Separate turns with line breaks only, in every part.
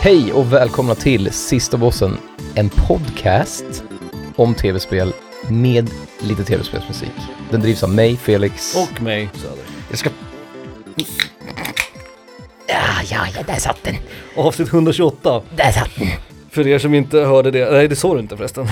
Hej och välkomna till Sista Bossen, en podcast om tv-spel med lite tv-spelsmusik. Den drivs av mig, Felix.
Och mig, Söder.
jag ska... Ja, ja, ja, där satt den.
Avsnitt 128.
Där satt den.
För er som inte hörde det, nej det sa du inte förresten.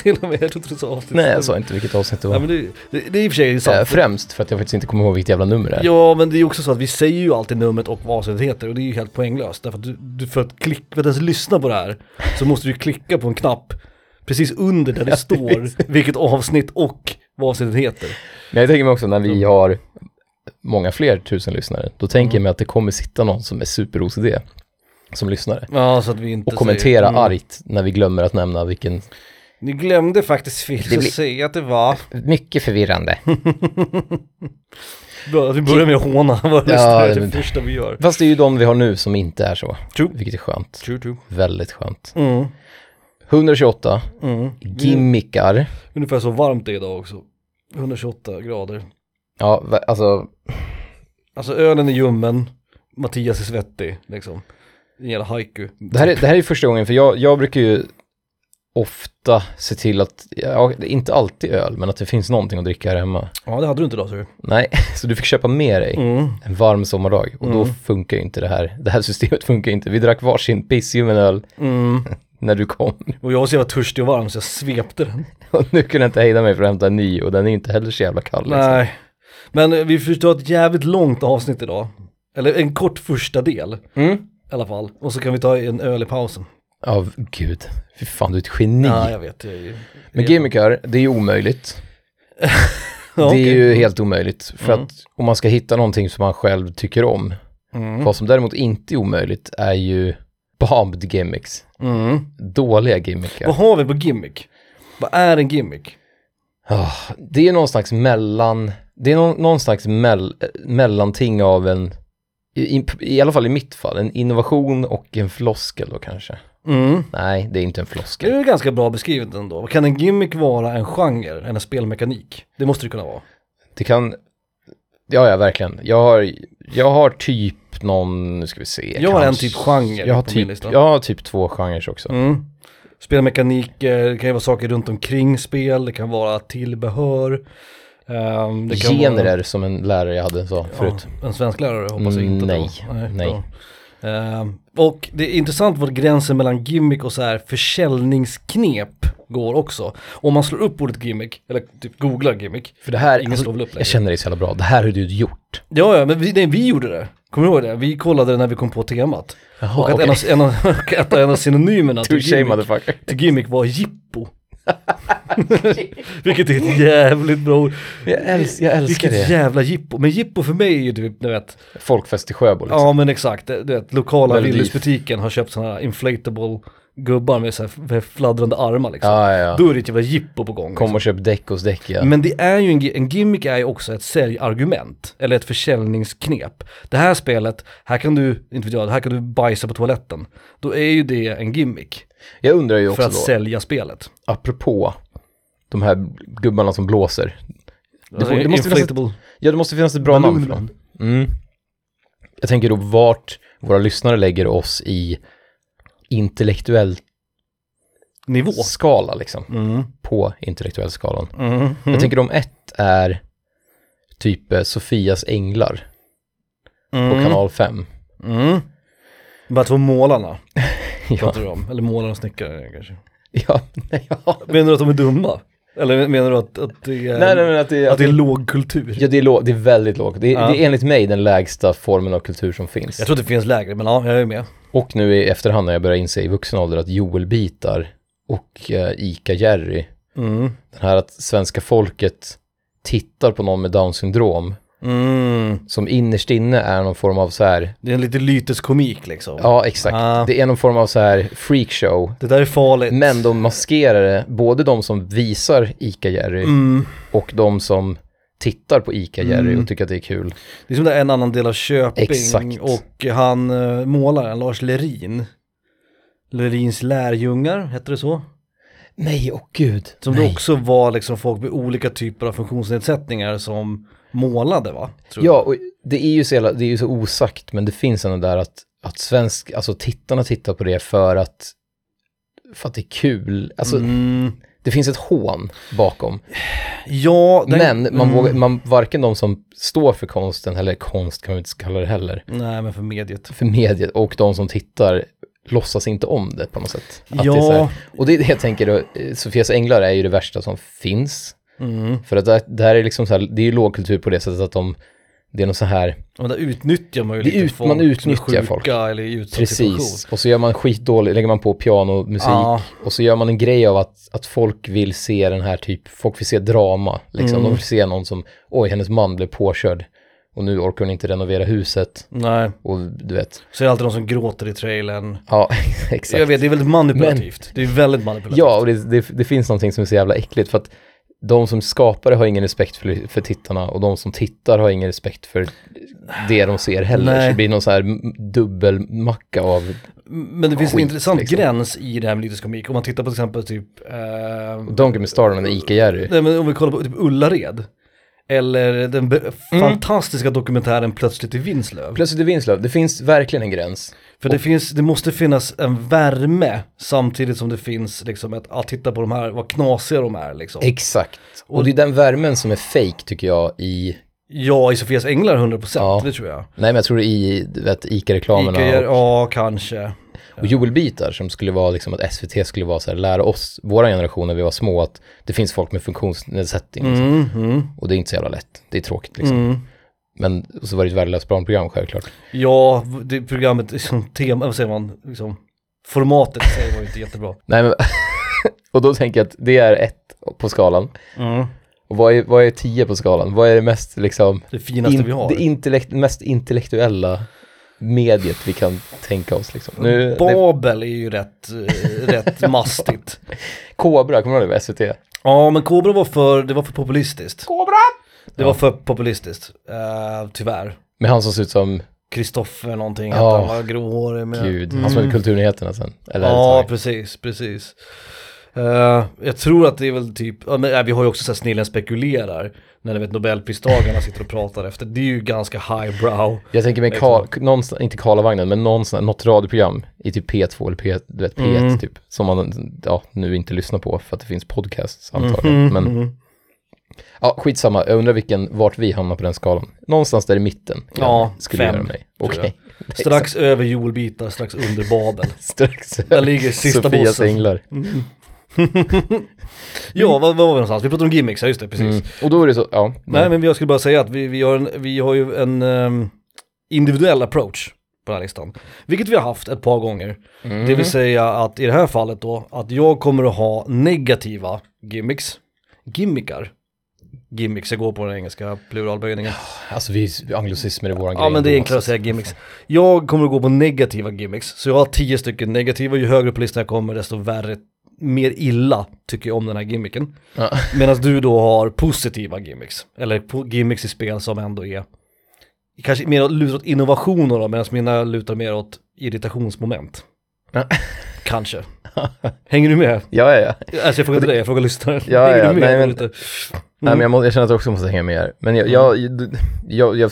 Till och med, jag trodde du sa avsnitt.
Nej, jag sa inte vilket avsnitt det
Ja,
var.
men det, det, det är i och för sig
Eh,
sant.
Främst för att jag faktiskt inte kommer ihåg vilket jävla nummer det är.
Ja, men det är också så att vi säger ju alltid numret och vad avsnittet heter och det är ju helt poänglöst. Därför att du, du för att klick, för att ens lyssna på det här så måste du klicka på en knapp precis under där det står vilket avsnitt och vad avsnittet heter.
Men jag tänker mig också när vi har många fler tusen lyssnare, då
Mm.
tänker jag mig att det kommer sitta någon som är super-OCD som lyssnare.
Ja, så att vi inte
Och kommentera
säger, mm.
argt när vi glömmer att nämna vilken
Ni glömde faktiskt Felix
Det
att
blir-
säga att det var...
Mycket förvirrande.
Bra, att Vi börjar med att håna våra lyssnare, det är det
men-
första vi gör.
Fast det är ju de vi har nu som inte är så,
True.
vilket är skönt.
True, true.
Väldigt skönt.
Mm.
128,
Mm.
gimmickar.
Ungefär så varmt det är idag också. 128 grader.
Ja, va- alltså,
Alltså ölen är ljummen, Mattias är svettig liksom. En jävla haiku.
det här, är, det här är första gången, för jag, jag brukar ju ofta se till att, ja, inte alltid öl, men att det finns någonting att dricka här hemma.
Ja det hade du inte idag ser du.
Nej, så du fick köpa med dig
Mm.
en varm sommardag och då funkar ju inte det här. Det här systemet funkar ju inte. Vi drack varsin pissljummen öl
Mm.
när du kom
Och jag var så jävla törstig och varm så jag svepte den. liksom.
och nu kunde jag inte hejda mig för att hämta en ny och den är inte heller så jävla kall. liksom.
Nej. Men eh, vi förstår ett jävligt långt avsnitt idag. Eller en kort första del.
Mm.
I alla fall. Och så kan vi ta en öl i pausen.
Ja, v- gud. Fy fan, du är ett geni.
Ja jag vet. Jag är ju...
Men gimmickar, det är ju omöjligt.
Ja,
Det
okej.
är ju helt omöjligt. För att om man ska hitta någonting som man själv tycker om,
Mm.
vad som däremot inte är omöjligt är ju bombed gimmicks.
Mm.
Dåliga gimmickar.
Vad har vi på gimmick? Vad är en gimmick?
Ah, det är någon slags mellan, det är någon, någon slags mell, eh, mellanting av en, i, i, i alla fall i mitt fall, en innovation och en floskel då kanske.
Mm.
Nej, det är inte en
Det
floskel.
är ju ganska bra beskrivet ändå. Kan en gimmick vara en genre, en spelmekanik? Det måste det kunna vara.
Det kan, ja ja verkligen. Jag har, jag har typ någon, nu ska vi se.
Jag har en
kanske-
typ genre
jag har
på min
typ,
lista.
jag har typ två genrer också.
Mm. Spelmekanik, eh, det kan ju vara saker runt omkring spel, det kan vara tillbehör. ehm, det kan
Generer
vara,
som en lärare jag hade sa förut.
Ja, en svensk lärare hoppas jag
Mm,
inte att det
nej,
var.
nej.
bra. Ehm, och det är intressant var gränsen mellan gimmick och så här försäljningsknep går också. Om man slår upp ordet gimmick, eller typ googlar gimmick,
För det här,
Ingen
alltså,
slår väl upp längre.
jag känner dig så jävla bra. Det här har du gjort.
Ja, ja, men vi, nej, vi gjorde det. Kommer du ihåg det? Vi kollade det när vi kom på temat.
Jaha,
och att
okej.
en, av, en, av, att en av synonymerna till
Touché
gimmick,
motherfucker.
till gimmick var jippo. Vilket är ett jävligt bra ord.
Jag, älsk, jag älskar
Vilket
det.
jävla jippo. Men jippo för mig är ju typ, du vet,
Folkfest i Sjöbo liksom.
ja men exakt, du vet, lokala
Melodif.
Willys-butiken har köpt sådana här inflatable gubbar med så här med fladdrande armar liksom.
Ja, ja, ja.
Då är det ett jävla jippo på gång.
Kom och köp däck hos däck ja.
Men det är ju en, gi- en gimmick är ju också ett säljargument, eller ett försäljningsknep. Det här spelet, här kan du, inte vet jag, här kan du bajsa på toaletten. Då är ju det en gimmick
Jag undrar ju
för
också
att
då,
sälja spelet.
apropå de här gubbarna som blåser.
Alltså,
det måste finnas ett-
inflatable.
Ja, det måste finnas ett bra namn för dem. Mm. Jag tänker då vart våra lyssnare lägger oss i intellektuell
Nivå.
skala liksom.
Mm.
På intellektuell skalan.
Mm.
Jag tänker om ett är typ eh, Sofias änglar på
Mm.
kanal 5.
Mm. De här två målarna
Ja,
pratar du om, eller målare och snickare kanske.
ja, nej, ja.
Menar du att de är dumma? Eller menar du att, att det är,
Nej, nej, men att det,
Att det är låg kultur?
Ja, det är, låg, det är väldigt lågt. Det är,
Ja.
det är enligt mig den lägsta formen av kultur som finns.
Jag tror att det finns lägre, men ja, jag är med.
Och nu i efterhand när jag börjar inse i vuxen ålder att Joel-bitar och eh, Ica-Jerry,
Mm.
den här att svenska folket tittar på någon med down syndrom
Mm.
som innerst inne är någon form av så här,
Det är en lite lyteskomik liksom.
ja exakt,
Ah.
det är någon form av så här freakshow.
Det där är farligt.
Typ. Men de maskerar det, både de som visar Ica-Jerry
Mm.
och de som tittar på Ica-Jerry
Mm.
och tycker att det är kul.
Det är som det är en annan del av Köping
Exakt.
och han eh, målaren Lars Lerin. Lerins lärjungar, hette det så?
Nej, och gud.
Som det
Nej.
också var liksom folk med olika typer av funktionsnedsättningar som målade va? Tror jag.
Ja, och det är ju så, jävla, det är ju så osagt, men det finns ändå där att att svensk, alltså tittarna tittar på det för att, för att det är kul. Alltså,
Mm,
det finns ett hån bakom.
ja, den-
Men man
mm.
vågar, man, varken de som står för konsten, eller konst kan man inte kalla det heller,
Nej, men för mediet.
för mediet och de som tittar låtsas inte om det på något sätt. Att det är så
ja,
här, och det är det jag tänker då, eh, Sofias änglar är ju det värsta som finns.
mm.
För att det, det här är liksom så här, det är ju lågkultur på det sättet att de, det är något så här,
men där utnyttjar man ju
Det
lite
ut-
folk
man
som är
utnyttjar
sjuka
folk.
eller i utsatt situation.
precis, och så gör man skitdålig, lägger man på pianomusik
Ja,
och så gör man en grej av att, att folk vill se den här typ, folk vill se drama, liksom.
Mm.
de vill se någon som, oj hennes man blev påkörd och nu orkar hon inte renovera huset
nej.
och du vet,
Så är det alltid de som gråter i trailern.
ja
Jag
exakt.
vet, det är väldigt manipulativt. Det är väldigt manipulativt.
Ja, och det, det, det finns någonting som är så jävla äckligt för att de som skapar det har ingen respekt för, för tittarna och de som tittar har ingen respekt för det de ser heller.
Nej.
Så det blir någon så här m- dubbelmacka av,
Men det finns en
Skit,
intressant
liksom.
gräns i det här med lyrisk komik. Om man tittar på till exempel typ... Eh,
Don't Give Me Started med Ica-Jerry.
nej, men om vi kollar på typ Ullared. Eller den be-
Mm.
fantastiska dokumentären Plötsligt i Vinslöv.
Plötsligt i Vinslöv, det finns verkligen en gräns.
För det, finns, det måste finnas en värme samtidigt som det finns liksom ett, att titta på de här, vad knasiga de är liksom.
Exakt. Och det är den värmen som är fake tycker jag i,
Ja, i Sofias Änglar 100%,
Ja.
det tror jag.
nej men jag tror det är i du vet, Ica-reklamerna
Ica,
och,
ja kanske.
och Joel-bitar som skulle vara liksom att SVT skulle vara så här, lära oss, våra generation när vi var små, att det finns folk med funktionsnedsättning.
Mm, mm,
Och det är inte så jävla lätt. Det är tråkigt liksom.
mm.
Men och så var det ett värdelöst barnprogram självklart.
Ja, det programmet, liksom, tema, vad säger man, liksom, formatet i sig var ju inte jättebra.
Nej, men, och då tänker jag att det är ett på skalan.
Mm.
Och vad är, vad är tio på skalan? Vad är det mest liksom,
Det finaste vi har.
det intellekt, mest intellektuella mediet vi kan tänka oss liksom. Nu, det,
Babel är ju rätt, eh, rätt mastigt.
Kobra, kommer du ihåg det? SVT?
Ja, men Kobra var för, det var för populistiskt.
Kobra!
Det var för populistiskt, eh, tyvärr.
Med han som ser ut som
Kristoffer någonting,
Ja.
att han var gråhårig med. Mm.
gud, han som hade kulturnyheterna sen. Eller,
Ja,
sorry.
precis, precis. Eh, jag tror att det är väl typ, ja, men, eh, vi har ju också så här snillen spekulerar, när ni vet Nobelpristagarna sitter och pratar efter, det är ju ganska highbrow.
Jag tänker mig, Karl, någonstans, inte Karlavagnen, men någonstans, något radioprogram i typ P2 eller P, du vet, P1
Mm.
typ, som man ja, nu inte lyssnar på för att det finns podcasts antagligen. Men
Mhm.
ja, skitsamma, jag undrar vilken, vart vi hamnar på den skalan. Någonstans där i mitten kan-
Ja,
skulle
fem,
göra mig.
tror
Okej.
jag. Strax över jordbitar, strax under Babel.
Strax.
Där ligger sista
Sofias
bossen.
änglar.
Mm. Ja, vad, vad var vi någonstans? Vi pratade om gimmicks, ja just det, precis.
Mm. Och då är det så, ja. Mm.
Nej, men jag skulle bara säga att vi, vi, har, en, vi har ju en ehm, individuell approach på den här listan. Vilket vi har haft ett par gånger.
Mm.
Det vill säga att i det här fallet då, att jag kommer att ha negativa gimmicks. Gimmickar. Gimmicks, jag går på den engelska pluralböjningen.
Alltså vi, anglicismer är våran
Ja men det är enklare att säga gimmicks. Jag kommer att gå på negativa gimmicks, så jag har tio stycken negativa. Ju högre upp på listan jag kommer desto värre, mer illa tycker jag om den här gimmicken.
Ja.
Medan du då har positiva gimmicks, eller po- gimmicks i spel som ändå är kanske mer lutar åt innovationer då, medan mina lutar mer åt irritationsmoment.
Ja.
Kanske. Hänger du med?
Ja, ja, ja.
Alltså jag frågar inte dig, jag frågar lyssnaren.
Ja,
Hänger
ja,
du med?
nej, men-
Lite? Mm.
Nej, men jag, må, jag känner att jag också måste hänga med här. Men jag, jag, jag, jag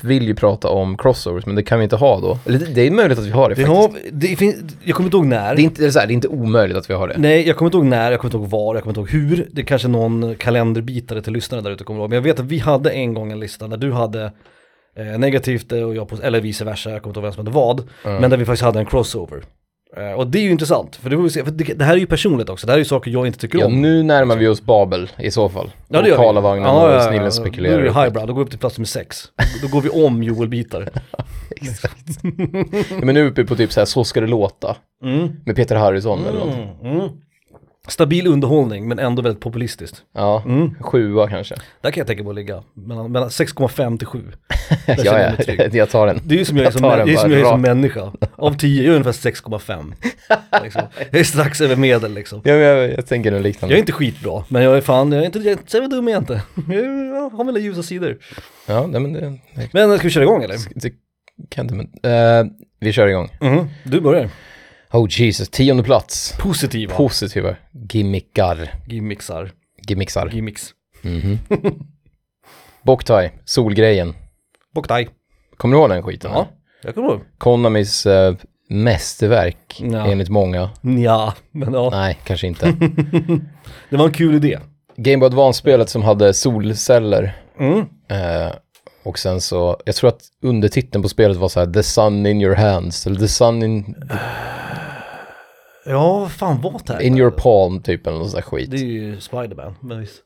vill ju prata om crossovers, men det kan vi inte ha då. Eller det, det är möjligt att vi har det,
Vi
faktiskt.
har, det finns, jag kommer inte ihåg när.
Det, är inte, eller så här, det är inte omöjligt att vi har det.
Nej, jag kommer inte ihåg när, jag kommer inte ihåg var, jag kommer inte ihåg hur. Det är kanske någon kalenderbitare till lyssnarna där ute kommer ihåg. Men jag vet att vi hade en gång en lista där du hade eh, negativt eh, och jag på, eller vice versa, jag kommer inte ihåg vem som hade vad. Men där vi faktiskt hade en crossover. Eh, och det är ju intressant, för det, får vi se, för det, det här är ju personligt också, det här är ju saker jag inte tycker
Ja,
om.
nu närmar vi oss Babel i så fall.
Ja, det gör vi.
och Karlavagnen
Ja, ja, ja.
och snillen
Då är det
spekulerar.
highbrow, då går vi upp till plats nummer sex. Då går vi om Joel-bitar.
Exakt. ja, men nu är vi uppe på typ så här, så ska det låta.
Mm.
Med Peter Harrison eller någonting.
Stabil underhållning, men ändå väldigt populistiskt.
Ja, sjua kanske.
Där kan jag tänka på att ligga, mellan, mellan 6,5 till 7. Där känner
Ja,
jag mig
ja,
trygg.
jag tar den.
Det är ju som jag är
Jag
som,
tar den
det är som,
bara
jag är som
rakt.
människa. Av 10, jag är ungefär 6,5. Liksom. Jag är strax över medel liksom.
Ja, men jag, jag tänker nog
Jag
liknande.
är inte skitbra, men jag är fan, jag är inte, jag är inte så jävla dum jag är inte. Jag har mina ljusa sidor.
Ja, nej, men det, det,
Men ska vi köra igång eller?
det kan inte, men. eh, vi kör igång.
Mhm, Du börjar.
Oh Jesus, tionde plats.
Positiva
Positiva gimmickar.
gimmicksar,
Gimmicksar.
gimmicks.
Mhm. Boktai, solgrejen.
Boktaj.
Kommer du ihåg den skiten?
Ja.
eller?
Jag kommer ihåg.
Konamis eh, mästerverk
Ja.
enligt många.
Ja, men ja.
Nej, kanske inte.
Det var en kul idé.
Game Boy Advance-spelet som hade solceller.
Mm.
Eh, och sen så, jag tror att undertiteln på spelet var så här The Sun in your hands, eller The Sun in,
Ja, vad fan var det här?
in your palm typ, eller någon sån där skit.
Det är ju Spiderman, men visst.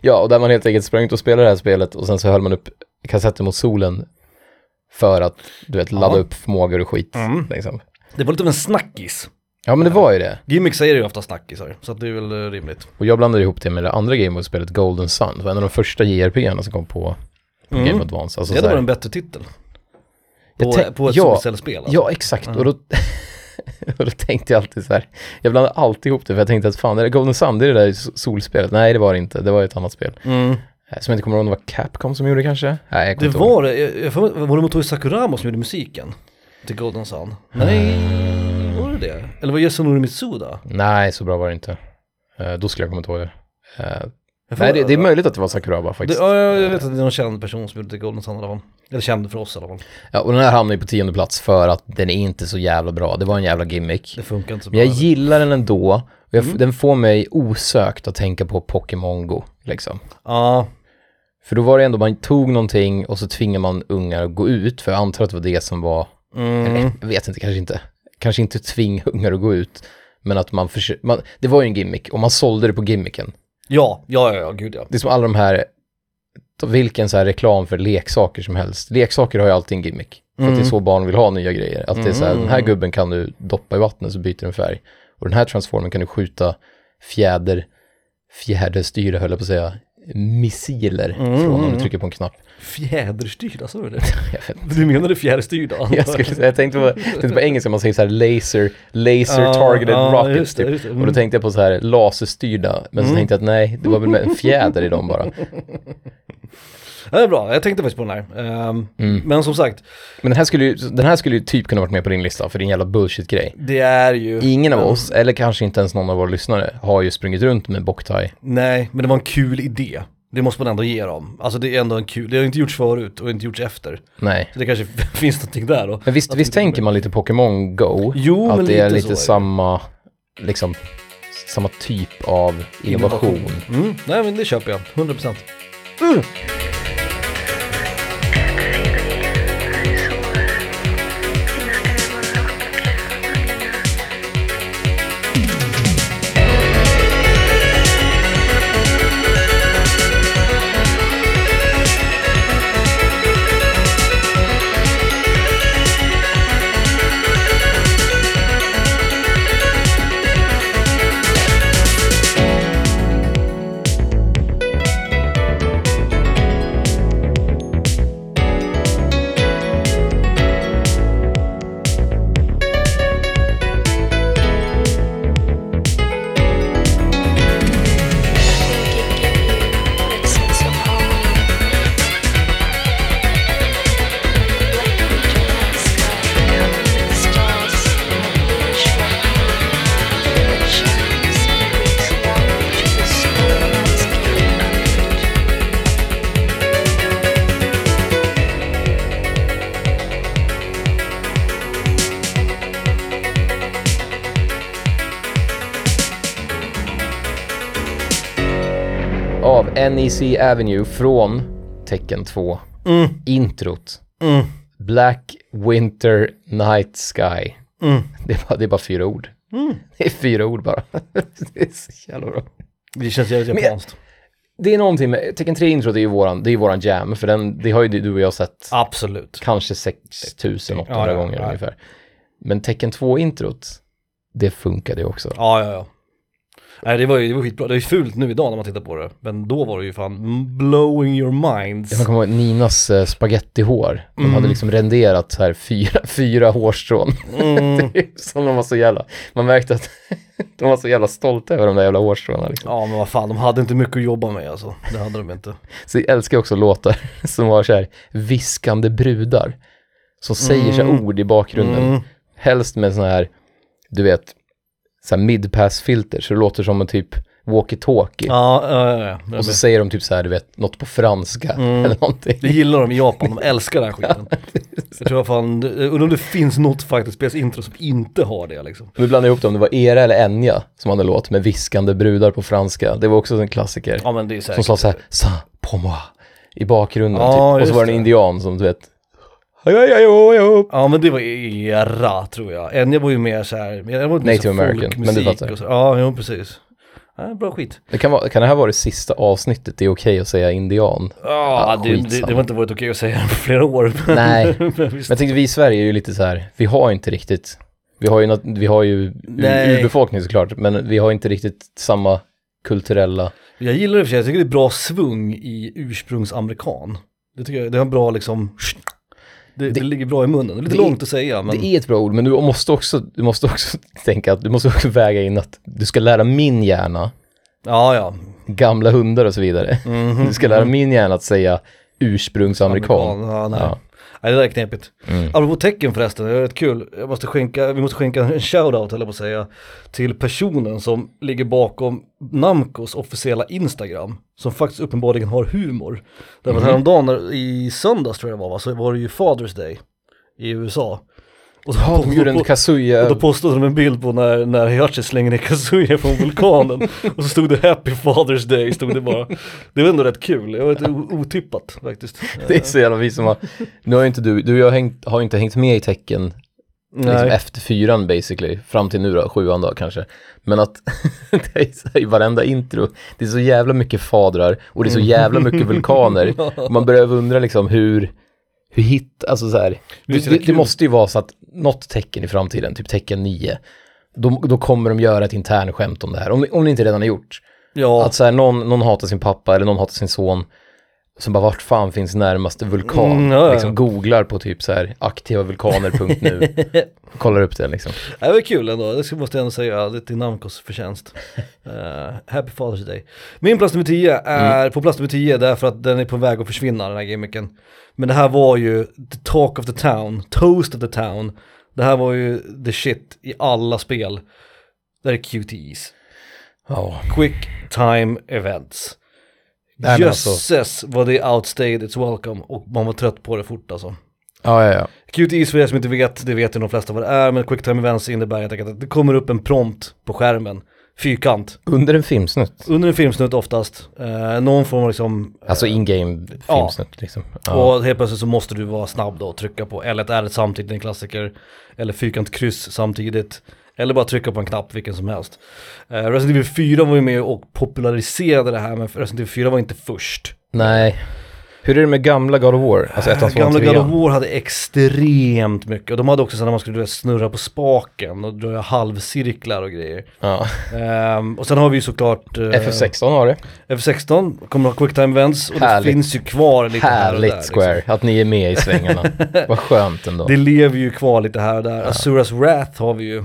Ja, och där man helt enkelt sprang ut och spelade det här spelet och sen så höll man upp kassetten mot solen för att, du vet, ladda
Ja.
upp förmågor och skit.
Mm.
Liksom.
Det var lite av en snackis.
Ja, men det var ju det.
Gimmicks säger ju ofta snackisar, så att det är väl eh, rimligt.
Och jag blandade ihop det med det andra Game Boy-spelet Golden Sun. Det var en av de första JRPG-arna som kom på på Game Boy Advance. Alltså,
Mm.
så
Det hade
här-
varit en bättre titel.
Jag
På,
tänk-
på ett
ja,
solcellsspel alltså. Mm.
Ja, exakt. Och, då, och då tänkte jag alltid så här. Jag blandade alltid ihop det för jag tänkte att fan, är det Golden Sun, det är det där so- solspelet. Nej, det var det inte. Det var ett annat spel.
Mm.
Eh, Som jag inte kommer ihåg om det var Capcom som gjorde det kanske. Nej, jag kommer
Det
inte ihåg.
var det, jag- jag får- var det Motori Sakurama som gjorde musiken? Till Golden Sun? Nej, var det det? Eller var det Yasunori Mitsuda?
Nej, så bra var det inte. Eh, Då skulle jag komma inte ihåg det. Eh,
Jag får-
Nej, det, det är möjligt att det var Sakuraba
Det,
faktiskt.
ja, jag vet att det är någon känd person som gjorde till Golden Sun i alla fall. Eller känd för oss i alla fall.
Ja, och den här hamnade ju på tionde plats för att den är inte så jävla bra. Det var en jävla gimmick.
Det funkar inte så bra.
Men jag gillar den ändå. Och jag, f- Den får mig osökt att tänka på Pokémon Go, liksom.
Ja,
För då var det ändå, man tog någonting och så tvingade man ungar att gå ut, för jag antar att det var det som var,
Mm.
eller jag vet inte, kanske inte, kanske inte tving ungar att gå ut, men att man, försö- man det var ju en gimmick och man sålde det på gimmicken.
ja, ja, ja, ja gud ja.
Det är som alla de här, vilken så här reklam för leksaker som helst. Leksaker har ju alltid en gimmick. För att det
Mm.
är så barn vill ha nya grejer. Att det är så här, den här gubben kan du doppa i vattnet så byter den färg. Och den här transformen kan du skjuta fjäder, fjäderstyra höll jag på att säga, missiler
Mm.
från om du trycker på en knapp.
Fjäderstyrda, sa du det?
Jag vet inte.
Du menade fjärrstyrda? antar
Jag, skulle, säga- jag tänkte, på, tänkte på engelska, man säger så här laser, laser
Ja,
targeted
ja,
rockets
just det,
typ.
just det. Mm.
Och då tänkte jag på så här laserstyrda, men så tänkte jag att nej, det var väl med en fjäder i dem bara.
Ja, det är bra, jag tänkte faktiskt på den här. Ehm,
Mm.
Men som sagt,
Men den här, skulle ju, den här skulle ju typ kunna varit med på din lista för din jävla bullshit-grej.
det är ju...
Ingen av oss, eller kanske inte ens någon av våra lyssnare, har ju sprungit runt med Boktai.
Nej, men det var en kul idé. Det måste man ändå ge dem. Alltså det är ändå en kul, det har inte gjorts förut och inte gjorts efter.
Nej.
Så det kanske finns någonting där då.
Men visst, visst tänker man lite Pokémon Go?
Jo,
att
men
det är
lite
lite
så är det.
samma, liksom, samma typ av innovation.
Mm, nej men det köper jag, 100%.
think it give you that sense of harmony. Like a region in the sky, the stars in the bluish white, the shadows and breaks warmly to the snow landscape under it.
Av NEC Avenue från Tecken 2.
Mm.
Introt. Black Winter Night Sky.
Mm.
Det, är bara, det är bara fyra ord. Det är fyra ord bara. det är så jävla bra.
Det känns jävligt japanskt.
Det är någonting med, Tekken 3 intro det är ju våran, det är ju våran jam, för den, det har ju du och jag sett
Absolut.
kanske 6800
Ja, ja,
gånger
ja.
ungefär. Men Tekken 2 introt, det funkade ju också.
Ja, ja, ja. Nej det var ju det var skitbra, det är ju fult nu idag när man tittar på det. Men då var det ju fan mm, blowing your minds.
Jag kommer ihåg Ninas eh, spagettihår. De
Mm.
hade liksom renderat så här fyra, fyra hårstrån.
Mm.
det är som de var så jävla, man märkte att de var så jävla stolta över de där jävla hårstråna. Liksom.
Ja men vad fan, de hade inte mycket att jobba med alltså. Det hade de inte.
Så jag älskar också låtar som var så här viskande brudar. Som säger så
Mm.
här ord i bakgrunden. Helst med sån här, du vet, så här midpass filter. Så det låter som en typ walkie-talkie.
Ja, ja, ja, ja.
Och så säger de typ så här, du vet, något på franska eller någonting.
Det gillar de i Japan, de älskar den här skiten. Jag tror fan, jag undrar om det finns något faktiskt spelsintro som inte har det liksom.
Vi blandade ihop dem, det var Era eller Enya som hade en låt med viskande brudar på franska. Det var också en klassiker.
Ja men det är
som
säkert.
sa så här, sa på moi, i bakgrunden
Ja,
typ. Och
just
så var det en
det.
indian som du vet, "Hej, hej, hej, hej, hej."
Ja men det var era tror jag. Enya var ju mer såhär, jag var
Native American, men du fattar.
så. Ja, jo precis. Ja, bra skit.
det kan, vara, kan det här vara det sista avsnittet, det är okej att säga indian?
Ja,
Ja,
det, det,
skitsamma.
det var inte varit okej att säga på flera år. Men,
Nej, men
men visst.
jag tänkte vi i Sverige är ju lite så här, vi har ju inte riktigt, vi har ju, något, vi har ju
Nej.
urbefolkning såklart, men vi har inte riktigt samma kulturella,
Jag gillar det i och för sig, jag tycker det är bra svung i ursprungsamerikan. Det tycker jag, det har en bra liksom, det, det,
Det-
ligger bra i munnen. Det är lite
det är-
långt att säga men.
det är ett bra ord, men du måste också, du måste också tänka att, du måste också väga in att du ska lära min hjärna,
Ja, ja.
gamla hundar och så vidare,
Mhm.
du ska lära min hjärna att säga ursprungsamerikan.
Ja, nej.
Ja. Mm.
nej, det där är knepigt. Apropå tecken förresten, det är rätt kul. Jag måste skänka, vi måste skänka en shoutout, eller på att säga, till personen som ligger bakom Namcos officiella Instagram, som faktiskt uppenbarligen har humor. Därför att
Mhm.
häromdagen, när- i söndags tror jag det var, va, så var det ju Father's Day i USA. Och så
Ja, de gjorde en
och
Kazuya,
då postade de en bild på när, när Heihachi slänger ner Kazuya från vulkanen och så stod det Happy Father's Day, stod det bara. Det var ändå rätt kul, det var lite o- otippat faktiskt.
det är så jävla vi som har, nu har ju inte du, du och jag hängt, har ju inte hängt med i tecken liksom
Nej.
efter fyran basically, fram till nu då, sjuan då kanske. Men att det är så här, i varenda intro, det är så jävla mycket fadrar och det är så
Mm.
jävla mycket vulkaner. Och man börjar undra liksom hur, hur hit, alltså så här,
Visst
det,
är det
det, det
kul?
måste ju vara så att något tecken i framtiden, typ tecken 9, då, då kommer de göra ett internskämt om det här, om, om det inte redan är gjort.
Ja,
Att så här, någon, någon hatar sin pappa eller någon hatar sin son. Som bara, vart fan finns närmaste vulkan?
Mm, ja, ja.
Liksom googlar på typ så här aktivavulkaner.nu. kollar upp det liksom.
det var kul ändå, det ska- måste jag ändå säga, det är till Namcos förtjänst. Eh, happy Father's Day. Min plats nummer 10 är
Mm.
på plats nummer 10 därför att den är på väg att försvinna den här gimmicken. Men det här var ju the talk of the town, toast of the town. Det här var ju the shit i alla spel. Det här är QTEs.
Ja,
Quick time events.
Nej, men alltså-
Jösses vad det är outstayed it's welcome och man var trött på det fort alltså.
ja, ja. ja.
QTEs för er som inte vet, det vet ju de flesta vad det är, men quick time events innebär helt enkelt att det kommer upp en prompt på skärmen, fyrkant,
Under en filmsnutt.
under en filmsnutt oftast, eh, någon form av liksom, eh,
Alltså in-game filmsnutt liksom. Ja.
och helt plötsligt så måste du vara snabb då och trycka på L1 R samtidigt, en klassiker, eller fyrkant kryss samtidigt, eller bara trycka på en knapp, vilken som helst. Eh, Resident Evil 4 var ju med och populariserade det här, men Resident Evil 4 var inte först.
Nej. Hur är det med gamla God of War? Alltså ettan, tvåan,
Gamla God of
trean.
War hade extremt mycket, och de hade också så när man skulle du vet, snurra på spaken och dra halvcirklar och grejer.
Ja.
Ehm, och sen har vi ju såklart eh,
FF16 har det.
F16, kommer ha quicktime events och det
Härligt.
finns ju kvar lite här och
Härligt
där. liksom.
Square, att ni är med i svängarna. Vad skönt ändå.
Det lever ju kvar lite här och där. Asuras Wrath har vi ju.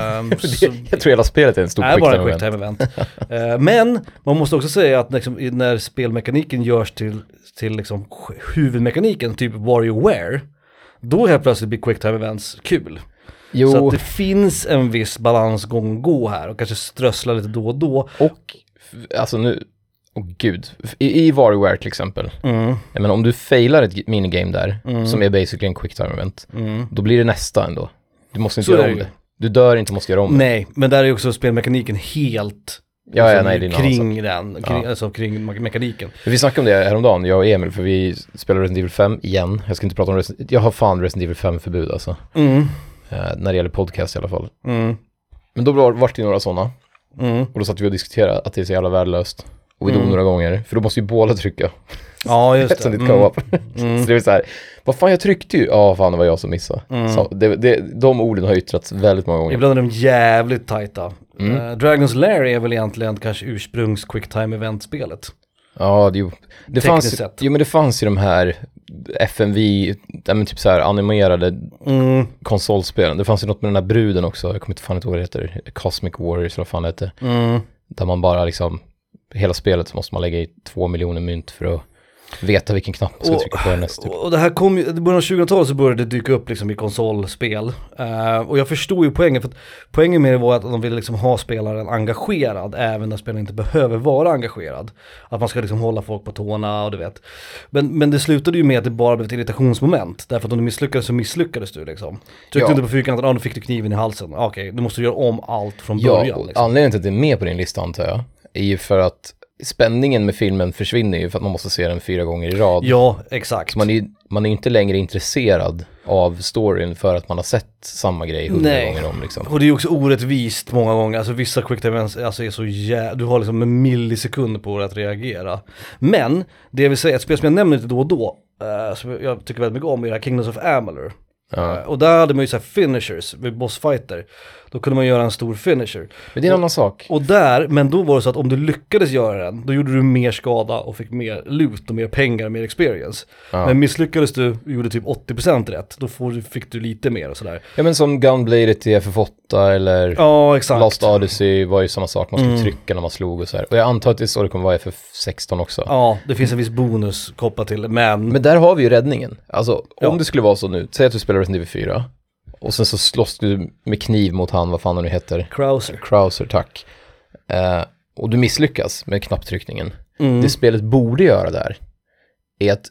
Ehm,
Det-
så-
jag tror hela spelet är en stor
är bara en
quick
quick time event. Eh, Men man måste också säga att liksom, i- när spelmekaniken görs till, till liksom sk- huvudmekaniken, typ WarioWare, då helt plötsligt blir quick time events kul. Så
Jo,
att det finns en viss balansgång att gå här och kanske strössla lite då och då.
och f- alltså nu, åh gud. F- I, I Warrior till exempel,
Mm.
jag menar, om du failar ett minigame där, som är basically en quick time event, då blir det nästa ändå. Du måste inte
Mm. Så
göra
är det
om
ju.
det. Du dör inte, måste göra om det.
Nej, men där är ju också spelmekaniken helt
Ja, ja,
liksom,
nej, det är en annan sak.
kring den, kring, alltså kring me- mekaniken.
Vi snackade om det häromdagen, jag och Emil, för vi spelar Resident Evil 5 igen. Jag ska inte prata om Resident Jag har fan Resident Evil 5-förbud alltså.
Mm,
Eh, när det gäller podcast i alla fall.
mm,
Men då var, vart det några sådana.
mm.
Och då satt vi och diskuterade att det är så jävla värdelöst. Och vi dog några gånger, för då måste ju båda trycka.
Ja, just
Eftersom
det. Mm.
det är ett co-op. så det är så här, vad fan jag tryckte ju. Ja, fan det var jag som missade.
Mm.
Så det, det, de orden har yttrats väldigt många gånger.
Ibland är de jävligt tajta. Eh, Dragons Lair är väl egentligen kanske ursprungs quicktime event-spelet.
Ja, det, jo. det fanns
Tekniskt
ju,
sett.
jo, men det fanns ju de här FMV, ja, men typ så här animerade
Mm.
konsolspelen. Det fanns ju något med den här bruden också, jag kommer inte fan inte ihåg vad det heter, Cosmic Warriors eller vad fan det heter.
Mm.
Där man bara liksom, hela spelet så måste man lägga i två miljoner mynt för att veta vilken knapp man ska
Och-
trycka på nästa. Typ.
Och och det här kom ju, i början av 2000-talet så började det dyka upp liksom i konsolspel. Eh, och jag förstod ju poängen, för att poängen med det var att de ville liksom ha spelaren engagerad, även när spelaren inte behöver vara engagerad. Att man ska liksom hålla folk på tårna och du vet. Men, men det slutade ju med att det bara blev ett irritationsmoment, därför att om du misslyckades så misslyckades du liksom. Tryckte
Ja.
du inte på fyrkanten, ja ah, nu fick du kniven i halsen, Ah, okej, nu måste du göra om allt från
Ja,
början.
och
liksom.
anledningen till att det är med på din lista antar jag, är ju för att spänningen med filmen försvinner ju för att man måste se den fyra gånger i rad.
ja exakt.
Man är ju man är ju inte längre intresserad av storyn för att man har sett samma grej hundra
Nej.
gånger om liksom.
Och det är också orättvist många gånger, alltså vissa quick time events alltså är så jä... du har liksom en millisekund på dig att reagera. Men, det jag vill säga, ett spel som jag nämner lite då och då, eh, som jag tycker väldigt mycket om, är det här Kingdoms of Amalur. Eh, och där hade man ju såhär finishers vid bossfighter, då kunde man göra en stor finisher.
Men det är en annan sak.
Och där, men då var det så att om du lyckades göra den, då gjorde du mer skada och fick mer loot och mer pengar och mer experience. Men misslyckades du och gjorde typ 80% rätt, då får, du- fick du lite mer och sådär.
Ja men som Gunblade till FF8 eller
Ja, Mm. exakt.
Lost Odyssey var ju samma sak, man skulle trycka när man slog och så här. Och jag antar att det är så det kommer vara i FF16 också.
Ja, det finns en viss bonus kopplat till det, men,
Men där har vi ju räddningen. Alltså
Ja.
om det skulle vara så nu, säg att du spelar Resident Evil 4 och sen så slåss du med kniv mot han, vad fan han nu heter,
Krauser.
Krauser, tack. Eh, och du misslyckas med knapptryckningen.
Mm.
Det spelet borde göra där är att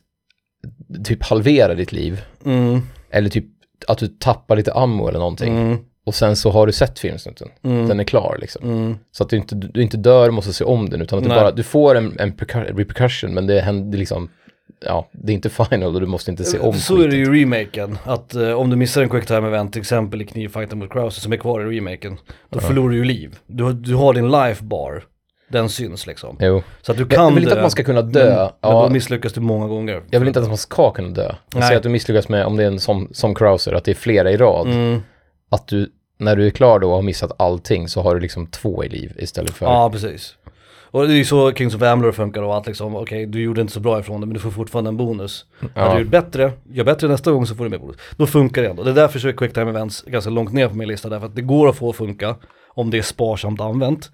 typ halvera ditt liv
Mm,
eller typ att du tappar lite ammo eller någonting.
mm,
Och sen så har du sett filmsnutten, den är klar liksom.
mm.
Så att du inte, du inte dör och måste se om den, utan att du,
Nej.
bara, du får en, en percu- repercussion, men det händer liksom, ja, det är inte final och du måste inte se om
Så är det ju i remaken, att eh, om du missar en quick time event, till exempel i knivfighten mot Krauser som är kvar i remaken, då förlorar du ju liv. Du, har- du har din life bar, den syns liksom.
Jo.
Så att du
Jag
kan
vill inte
dö,
att man ska kunna dö.
Men, men
ja,
då misslyckas du typ många gånger.
jag vill inte att man ska kunna dö. Jag
Nej.
säger att du misslyckas med, om det är en som, som Krauser, att det är flera i rad.
Mm.
Att du, när du är klar då och har missat allting så har du liksom två i liv istället för...
Ja, precis. Och det är ju så Kings of Amalur funkar då, att liksom, okej du gjorde inte så bra ifrån det men du får fortfarande en bonus. Hade du gjort bättre, gör bättre nästa gång så får du mer bonus. Då funkar det ändå. Det är därför så är quick time events ganska långt ner på min lista, därför att det går att få funka om det är sparsamt använt.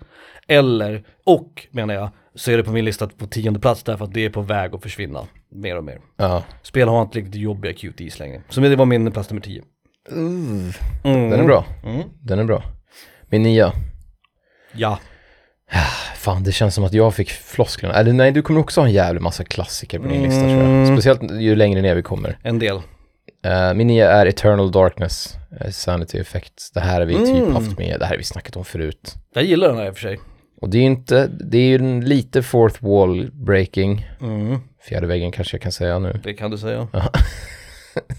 Eller, och menar jag, så är det på min lista på tionde plats därför att det är på väg att försvinna mer och mer.
Ja.
Spel har inte riktigt jobbiga QTs längre. Så det var min plats nummer 10. Mm.
Den är bra. Den är bra. Min nia.
Ja.
Fan, det känns som att jag fick flosklerna. Eller nej, du kommer också ha en jävla massa klassiker på din lista tror jag.
Mm.
Speciellt ju längre ner vi kommer.
En del.
Eh, min nia är Eternal Darkness, eh, Sanity Effect. Det här har vi typ
Mm.
haft med, det här har vi snackat om förut.
Jag gillar den här i och för sig.
Och det är ju inte, det är ju en lite fourth wall breaking.
Mm.
Fjärde väggen kanske jag kan säga nu.
Det kan du säga.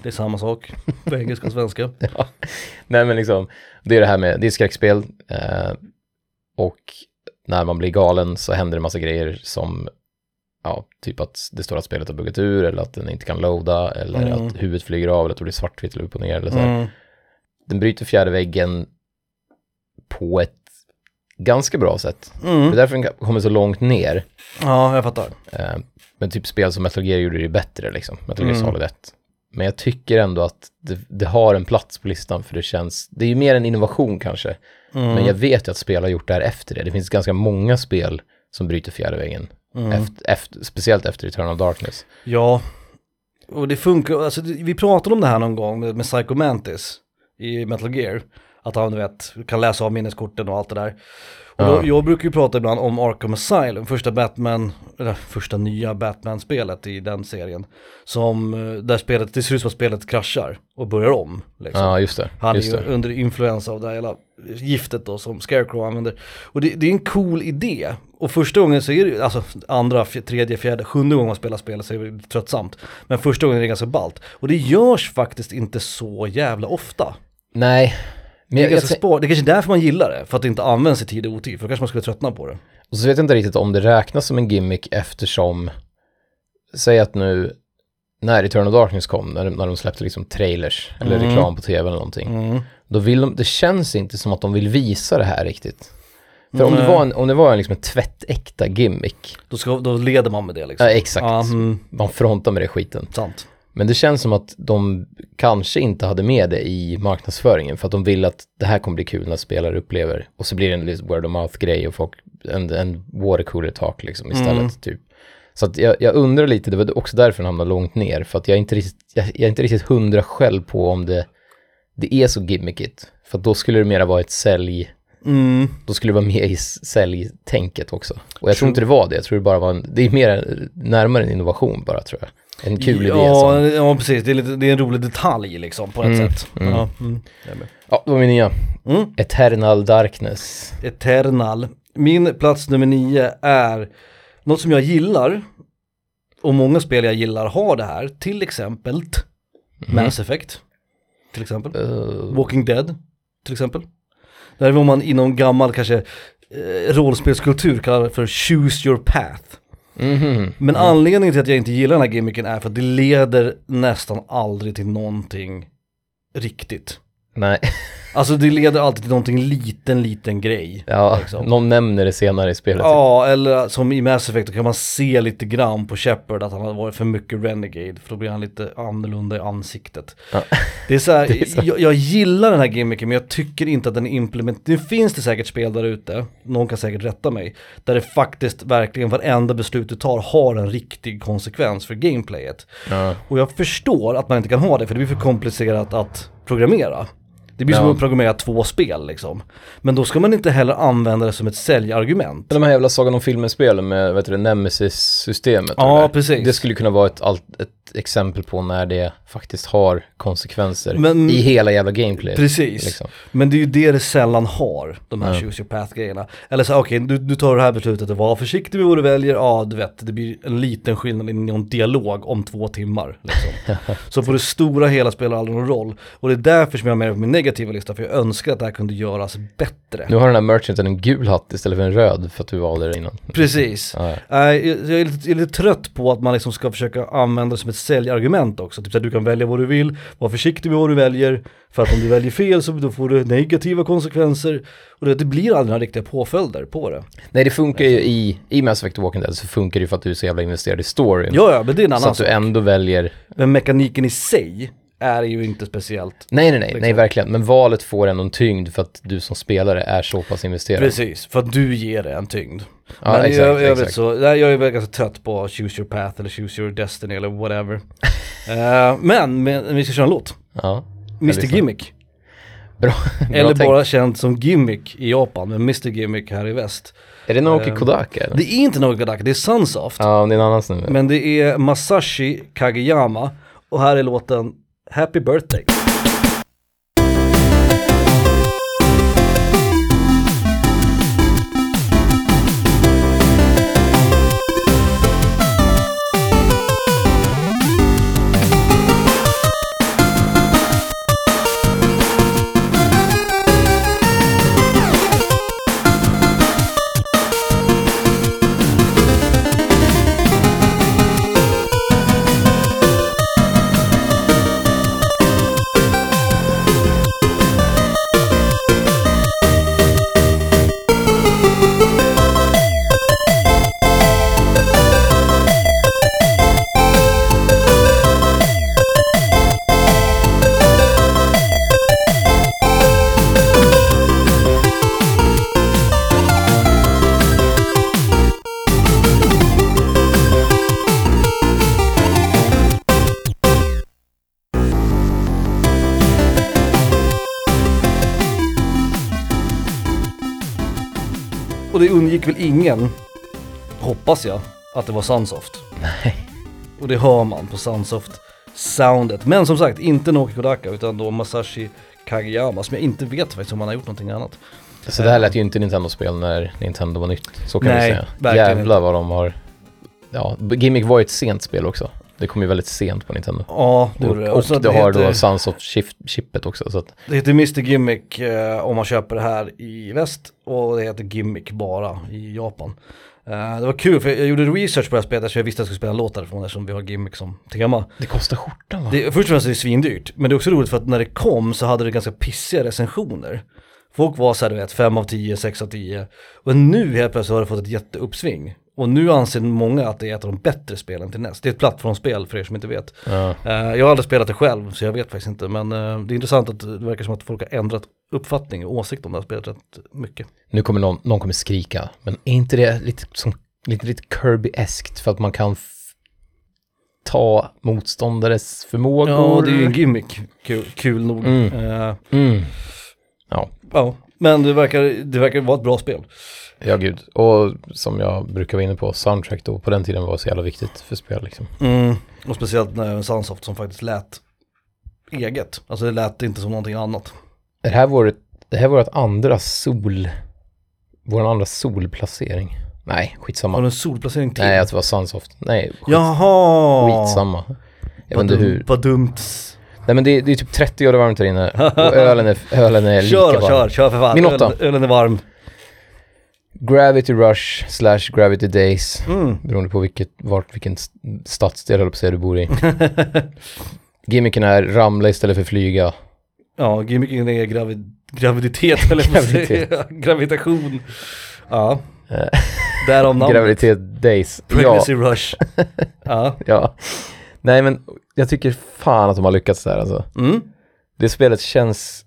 det är samma sak på engelska och svenska.
Nej men liksom, det är det här med, det är skräckspel. eh, och när man blir galen så händer det massa grejer som, ja, typ att det står att spelet har buggat ur eller att den inte kan loada eller
Mm.
att huvudet flyger av eller att det blir svartvitt eller upp och ner
typ,
eller så här. Den bryter fjärde väggen på ett ganska bra sätt. Det är
Mm.
därför den kommer så långt ner.
Ja, jag fattar.
Eh, Men typ spel som Metal Gear gjorde det ju bättre liksom. Metal Gear
Mm.
Solid 1. Men jag tycker ändå att det, det har en plats på listan för det känns, det är ju mer en innovation kanske.
Mm.
Men jag vet ju att spel har gjort det här efter det. Det finns ganska många spel som bryter fjärde väggen.
Mm.
Efter, efter, speciellt efter Return of Darkness.
Ja, och det funkar, alltså det- vi pratade om det här någon gång med, med Psycho Mantis i Metal Gear. Att han du vet, kan läsa av minneskorten och allt det där. Och då,
Ja.
Jag brukar ju prata ibland om Arkham Asylum, första Batman, eller första nya Batman-spelet i den serien. Som, eh, där spelet, det ser ut som att spelet kraschar och börjar om. Liksom.
Ja, just det.
Han är
just
ju
det.
under influens av det här hela giftet då som Scarecrow använder. Och det, det är en cool idé. Och första gången så är det ju, alltså andra, fj- tredje, fjärde, sjunde gången man spelar spelet så är det lite tröttsamt. Men första gången är det ganska ballt. Och det görs faktiskt inte så jävla ofta.
Nej. Men
Det är,
jag, jag,
ganska spår. det är kanske är därför man gillar det, för att det inte används i tid och otid. För då kanske man skulle tröttna på det.
Och så vet jag inte riktigt om det räknas som en gimmick eftersom, säg att nu, när Return of Darkness kom, när, de- när de släppte liksom trailers eller
Mm.
reklam på tv eller någonting, då vill de, det känns inte som att de vill visa det här riktigt. För om det
Nej.
var en, om det var en, liksom en tvättäkta gimmick,
Då, ska, då leder man med det liksom.
ja exakt,
Ja, mm,
man frontar med det skiten.
sant.
Men det känns som att de kanske inte hade med det i marknadsföringen för att de vill att det här kommer bli kul när spelare upplever. Och så blir det en lite word of mouth grej och folk, en, en watercooler talk liksom istället typ. Så att jag, jag undrar lite, det var också därför den hamnade långt ner, för att jag är inte riktigt, jag, jag är inte riktigt hundra själv på om det, det är så gimmickigt. För att då skulle det mera vara ett sälj,
Mm.
då skulle det vara med i s- säljtänket också. Och jag tror inte det var det, jag tror det bara var en, det är mer närmare en innovation bara tror jag. En kul idé
ja,
som,
ja, precis. Det är, lite, det är en rolig detalj liksom på ett
Mm,
sätt.
mm.
Ja, mm. Jag är med.
ja det var min nya.
Mm.
Eternal Darkness.
Eternal. Min plats nummer nio är något som jag gillar och många spel jag gillar har det här, till exempel
Mhm.
Mass Effect. Till exempel.
Eh,
Walking Dead, till exempel. Det här är vad man inom gammal kanske eh, rollspelskultur kallar för choose your path.
mhm.
Men anledningen till att jag inte gillar den här gimmicken är för att det leder nästan aldrig till någonting riktigt.
Nej,
Alltså det leder alltid till någonting liten, liten grej.
ja,
Liksom.
någon nämner det senare i spelet.
Ja, eller som i Mass Effect, då kan man se lite grann på Shepard att han har varit för mycket Renegade, för då blir han lite annorlunda i ansiktet.
Ja.
Det är så här,
är så.
Jag, jag gillar den här gimmicken, men jag tycker inte att den är implementerad. Nu finns det säkert spel där ute, någon kan säkert rätta mig, där det faktiskt verkligen varenda beslut du tar har en riktig konsekvens för gameplayet.
Ja.
Och jag förstår att man inte kan ha det, för det blir för komplicerat att programmera. Det blir som
Ja.
att programmera två spel liksom. Men då ska man inte heller använda det som ett säljargument.
Men De här jävla Sagan om filmen-spelen med vet du, det, Nemesis-systemet.
Ja,
eller?
precis.
Det skulle kunna vara ett, alt- ett exempel på när det faktiskt har konsekvenser
Men-
i hela jävla gameplay.
Precis,
Liksom.
men det är ju det det sällan har, de här choose your path-grejerna. Eller så här, okej, du, du tar det här beslutet och var försiktig med vad du väljer, ja du vet, det blir en liten skillnad i någon dialog om två timmar. Liksom. så på det stora hela spelar det aldrig någon roll. Och det är därför som jag har med det på min negativa lista, för jag önskar att det här kunde göras bättre.
Nu har den här merchanten en gul hatt istället för en röd för att du valde det innan.
Precis.
Ja, ja.
Nej, Eh, jag jag är, lite, jag är lite trött på att man liksom ska försöka använda det som ett säljargument också. Typ att du kan välja vad du vill, var försiktig med vad du väljer, för att om du väljer fel så då får du negativa konsekvenser. Och det, det blir aldrig några riktiga påföljder på det.
Nej, det funkar ju i, i Mass Effect och Walking Dead så funkar det ju för att du är så jävla investerad i storyn.
Ja, ja, men det är en
så
annan
att du
sak.
ändå väljer
Men mekaniken i sig är ju inte speciellt.
Nej, nej, nej, nej,
Liksom.
verkligen. Men valet får ändå en tyngd för att du som spelare är så pass investerad.
Precis, för att du ger det en tyngd.
Ja,
men i
exakt,
ö- övrigt
exakt.
så, nej, jag är väl ganska trött på choose your path eller choose your destiny eller whatever. Eh, men, men vi ska köra en låt.
Ja. Jag
Mr
lyssnar.
Gimmick.
Bra, bra
Eller
tänkt.
bara känd som Gimmick i Japan, men Mr Gimmick här i väst.
Är det Naoki
Ehm,
Kodaka eller?
Det är inte Nogadak, det är Sunsoft.
Ja, det är en annan snubbe.
Men det är Masashi Kageyama och här är låten Happy Birthday. Och det undgick väl ingen, hoppas jag, att det var Sunsoft. Nej. Och det hör man på Sunsoft-soundet. Men som sagt, inte Noki Kodaka utan då Masashi Kageyama som jag inte vet faktiskt om han har gjort någonting annat.
Så det här lät ju inte Nintendo-spel när Nintendo var nytt, så kan
Nej,
vi säga.
verkligen
Jävlar vad de har... Ja, Gimmick var ju ett sent spel också. Det kom ju väldigt sent på Nintendo.
Ja, det
Och,
gjorde
och
så att
det har
heter-
då Sons of Chif- chippet också. Så att,
Det heter Mr Gimmick eh, om man köper det här i väst och det heter Gimmick bara i Japan. Eh, det var kul för jag gjorde research på det här spelet så jag visste att jag skulle spela en låt därifrån eftersom vi har Gimmick som tema.
det kostar skjortan va?
Det, först och främst är det svindyrt men det är också roligt för att när det kom så hade det ganska pissiga recensioner. Folk var så här, du vet, 5 av 10, 6 av 10. Och nu helt plötsligt har det fått ett jätteuppsving. Och nu anser många att det är ett av de bättre spelen till näst. Det är ett plattformsspel för er som inte vet.
Ja.
Eh, Jag har aldrig spelat det själv så jag vet faktiskt inte. Men eh, det är intressant att det verkar som att folk har ändrat uppfattning och åsikt om det här spelet rätt mycket.
Nu kommer någon, någon kommer skrika, men är inte det lite som lite, lite Kirby-eskt för att man kan f- ta motståndares förmågor.
Ja, det är ju en gimmick. Kul, kul nog.
Mm.
Eh,
Mm. Ja,
ja. Men det verkar, det verkar vara ett bra spel.
ja gud. Och som jag brukar vara inne på, soundtrack då på den tiden var så jävla viktigt för spel liksom.
Och speciellt när det är en Sunsoft som faktiskt lät eget. Alltså det lät inte som någonting annat.
Det här var ett, det här var ett andra sol... Vår andra solplacering. Nej, skitsamma.
Har du en solplacering till?
Nej, att det var Sunsoft. Nej, skit,
Jaha!
skitsamma. Jag vet
Vad,
inte
dum,
hur.
vad dumt.
Nej men det, det är typ 30 grader varmt här inne och ölen är, ölen är lika
Kör,
varm.
kör, kör för fan.
Min åtta.
Ölen- Ölen är varm.
Gravity Rush slash Gravity Days.
Mm.
Beroende på vilket, vart, vilken s- stadsdel höll jag på att säga, du bor i. Gimmicken är ramla istället för flyga.
Ja, gimmicken är gravid, graviditet eller vad
Graviditet.
säger jag? Gravitation. Ja.
Eh,
Därav namnet.
Gravitet Days. Ja,
Pregnancy rush. Ja.
ja. Nej men jag tycker fan att de har lyckats där alltså.
Mm.
Det spelet känns,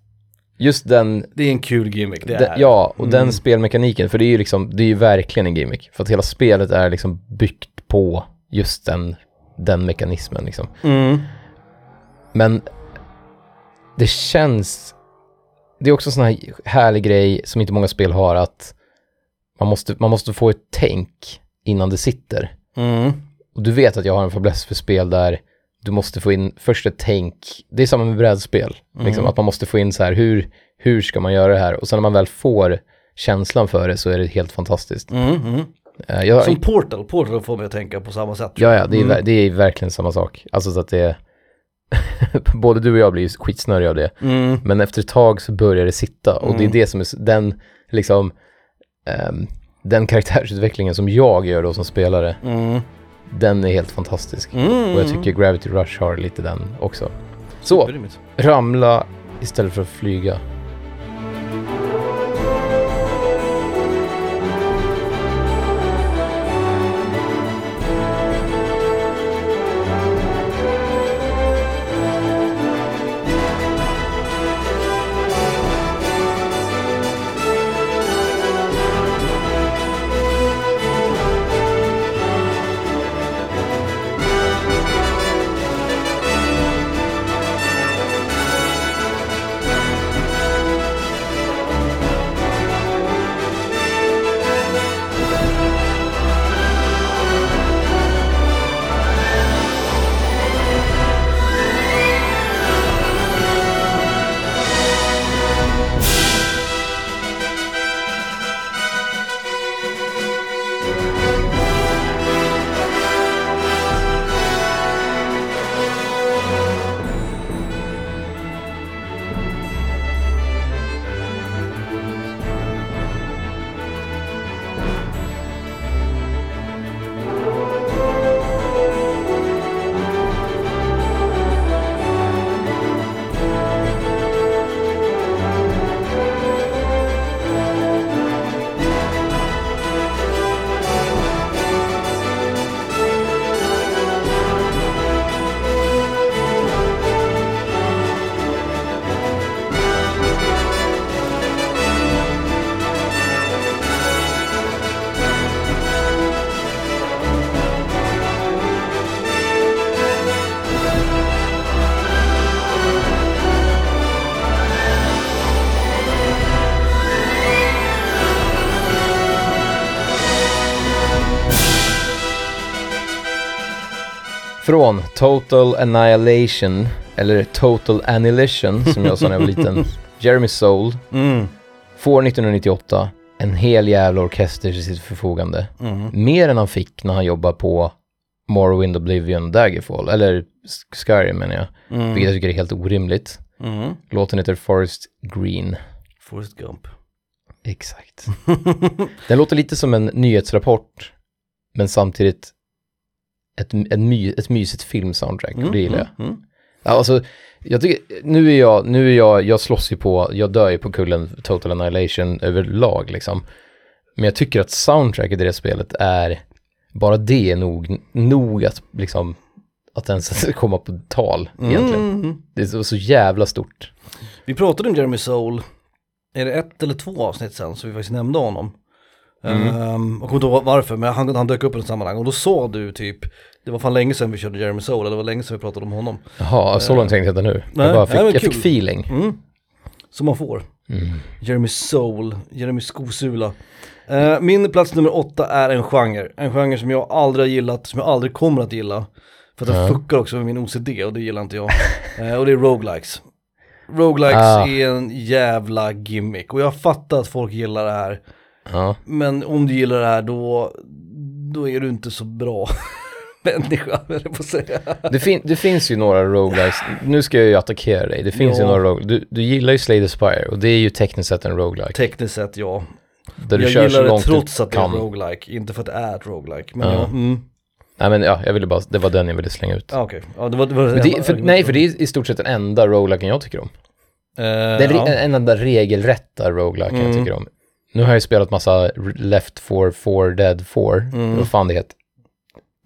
just den,
Det är en kul gimmick, det
den
är.
ja och
Mm.
den spelmekaniken, för det är ju liksom, det är ju verkligen en gimmick. För att hela spelet är liksom byggt på just den, den mekanismen liksom.
Mm.
Men det känns... Det är också en sån här härlig grej som inte många spel har att man måste, man måste få ett tänk innan det sitter.
Mm.
Och du vet att jag har en fäbless för spel där du måste få in först ett tänk. Det är samma med brädspel. Liksom, att man måste få in så här, hur, hur ska man göra det här? Och sen när man väl får känslan för det så är det helt fantastiskt.
Mm. Mm.
Eh, Jag,
Som Portal, Portal får mig att tänka på samma sätt.
Ja, ja, det är, ver- det är verkligen samma sak. Alltså så att det är... Både du och jag blir ju skitsnöriga av det.
Mm.
Men efter ett tag så börjar det sitta och det är det som är s- den, liksom, ehm, den karaktärsutvecklingen som jag gör då som spelare,
Mm.
den är helt fantastisk.
Mm.
Och jag tycker Gravity Rush har lite den också. Så,
Grymt.
ramla istället för att flyga. Från Total Annihilation, eller Total Annihilation som jag sa när jag var liten, Jeremy Soul
Mm.
får 1998 en hel jävla orkester till sitt förfogande.
Mm.
Mer än han fick när han jobbade på Morrowind Oblivion Daggerfall, eller Sk- Skyrim menar jag,
Mm.
vilket jag tycker är helt orimligt.
Mm.
Låten heter Forest Green.
Forrest Gump.
Exakt. Den låter lite som en nyhetsrapport, men samtidigt ett, ett, my, ett mysigt filmsoundtrack, och det gillar jag.
Mm. Mm.
Ja, Alltså, jag tycker, nu är jag, nu är jag, jag slåss ju på, jag dör ju på kullen Total Annihilation överlag liksom. Men jag tycker att soundtracket i det spelet är, bara det är nog, nog att liksom, att ens komma på tal egentligen.
Mm.
Det är så, så jävla stort.
Vi pratade om Jeremy Soul, är det ett eller två avsnitt sen som vi faktiskt nämnde honom? Ehm, jag kommer inte ihåg varför, men han, han dök upp i något sammanhang och då sa du typ, det var fan länge sedan vi körde Jeremy Soul, eller det var länge sedan vi pratade om honom.
Jaha, så långt tänkte jag inte nu.
nej,
jag bara fick,
nej, men
jag fick
kul.
feeling.
Mm. Som man får. Jeremy Soul, Jeremy Skosula. Eh, min plats nummer åtta är en genre. En genre som jag aldrig har gillat, som jag aldrig kommer att gilla. För att den fuckar också med min OCD och det gillar inte jag. Eh, och det är roguelikes. Roguelikes
Ah.
är en jävla gimmick. Och jag fattar att folk gillar det här.
Ja.
Men om du gillar det här då, då är du inte så bra människa, höll jag på att säga.
Det, fin det finns ju några roguelikes, nu ska jag ju attackera dig, det finns
Ja.
ju några roguelikes. Du, du gillar ju Slay the Spire och det är ju tekniskt sett en roguelike.
Tekniskt sett ja.
Där du
jag
kör
gillar
så
det
långt
trots
du
att det är
kan.
roguelike, inte för att det är ett roguelike. Men
Ja.
ja, mm.
Nej men ja, jag ville bara, det var den jag ville slänga ut.
Ja, okej. Ja, det var, det var
Men det, för, nej, för det är i stort sett den enda rogueliken jag tycker om.
Eh,
Det är
ja.
re- en enda regelrätta rogueliken jag tycker om. Nu har jag ju spelat massa R- Left 4, 4 Dead 4, vad fan det heter.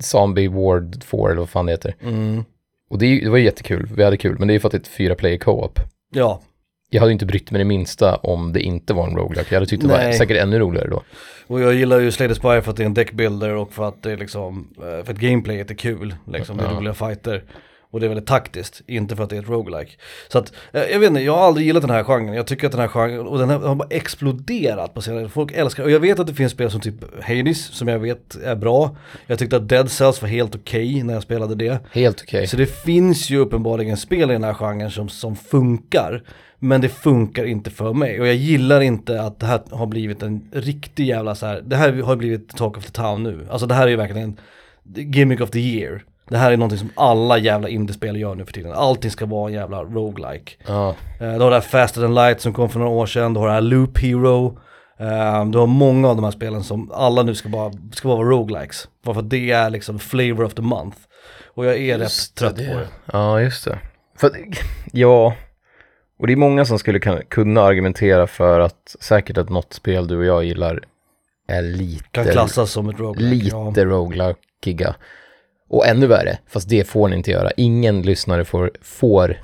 Zombie Ward 4 eller vad fan det heter.
Mm.
Och det, är ju- det var ju jättekul, vi hade kul, men det är ju för att det är ett fyra player co-op.
ja,
Jag hade ju inte brytt mig det minsta om det inte var en roguelike. Jag hade tyckt det var
Nej.
säkert ännu roligare då.
och jag gillar ju Slay the Spire för att det är en deckbuilder och för att det är liksom, eh, för att gameplayet är kul, liksom, det är roliga fighter. Och det är väldigt taktiskt, inte för att det är ett roguelike. Så att, eh, jag vet inte, jag har aldrig gillat den här genren. Jag tycker att den här genren, och den här har bara exploderat på senare Folk älskar Och jag vet att det finns spel som typ Hades, som jag vet är bra. Jag tyckte att Dead Cells var helt okej när jag spelade det.
Helt okej.
Så det finns ju uppenbarligen spel i den här genren som, som funkar. Men det funkar inte för mig. Och jag gillar inte att det här har blivit en riktig jävla så här. Det här har blivit talk of the town nu. Alltså det här är ju verkligen gimmick of the year. Det här är någonting som alla jävla indiespel gör nu för tiden. Allting ska vara en jävla roguelike.
Ja.
Eh, Du har det här Faster than light som kom för några år sedan, du har det här Loop Hero. Eh, Du har många av de här spelen som alla nu ska bara, ska bara vara roguelikes. Bara för att det är liksom flavor of the month. Och jag är rätt trött på det.
Ja, just det. För, att- ja, och det är många som skulle kan- kunna argumentera för att säkert att något spel du och jag gillar är
Kan
lite,
klassas som ett roguelike. ja.
lite roguelakiga. Och ännu värre, fast det får ni inte göra. Ingen lyssnare får, får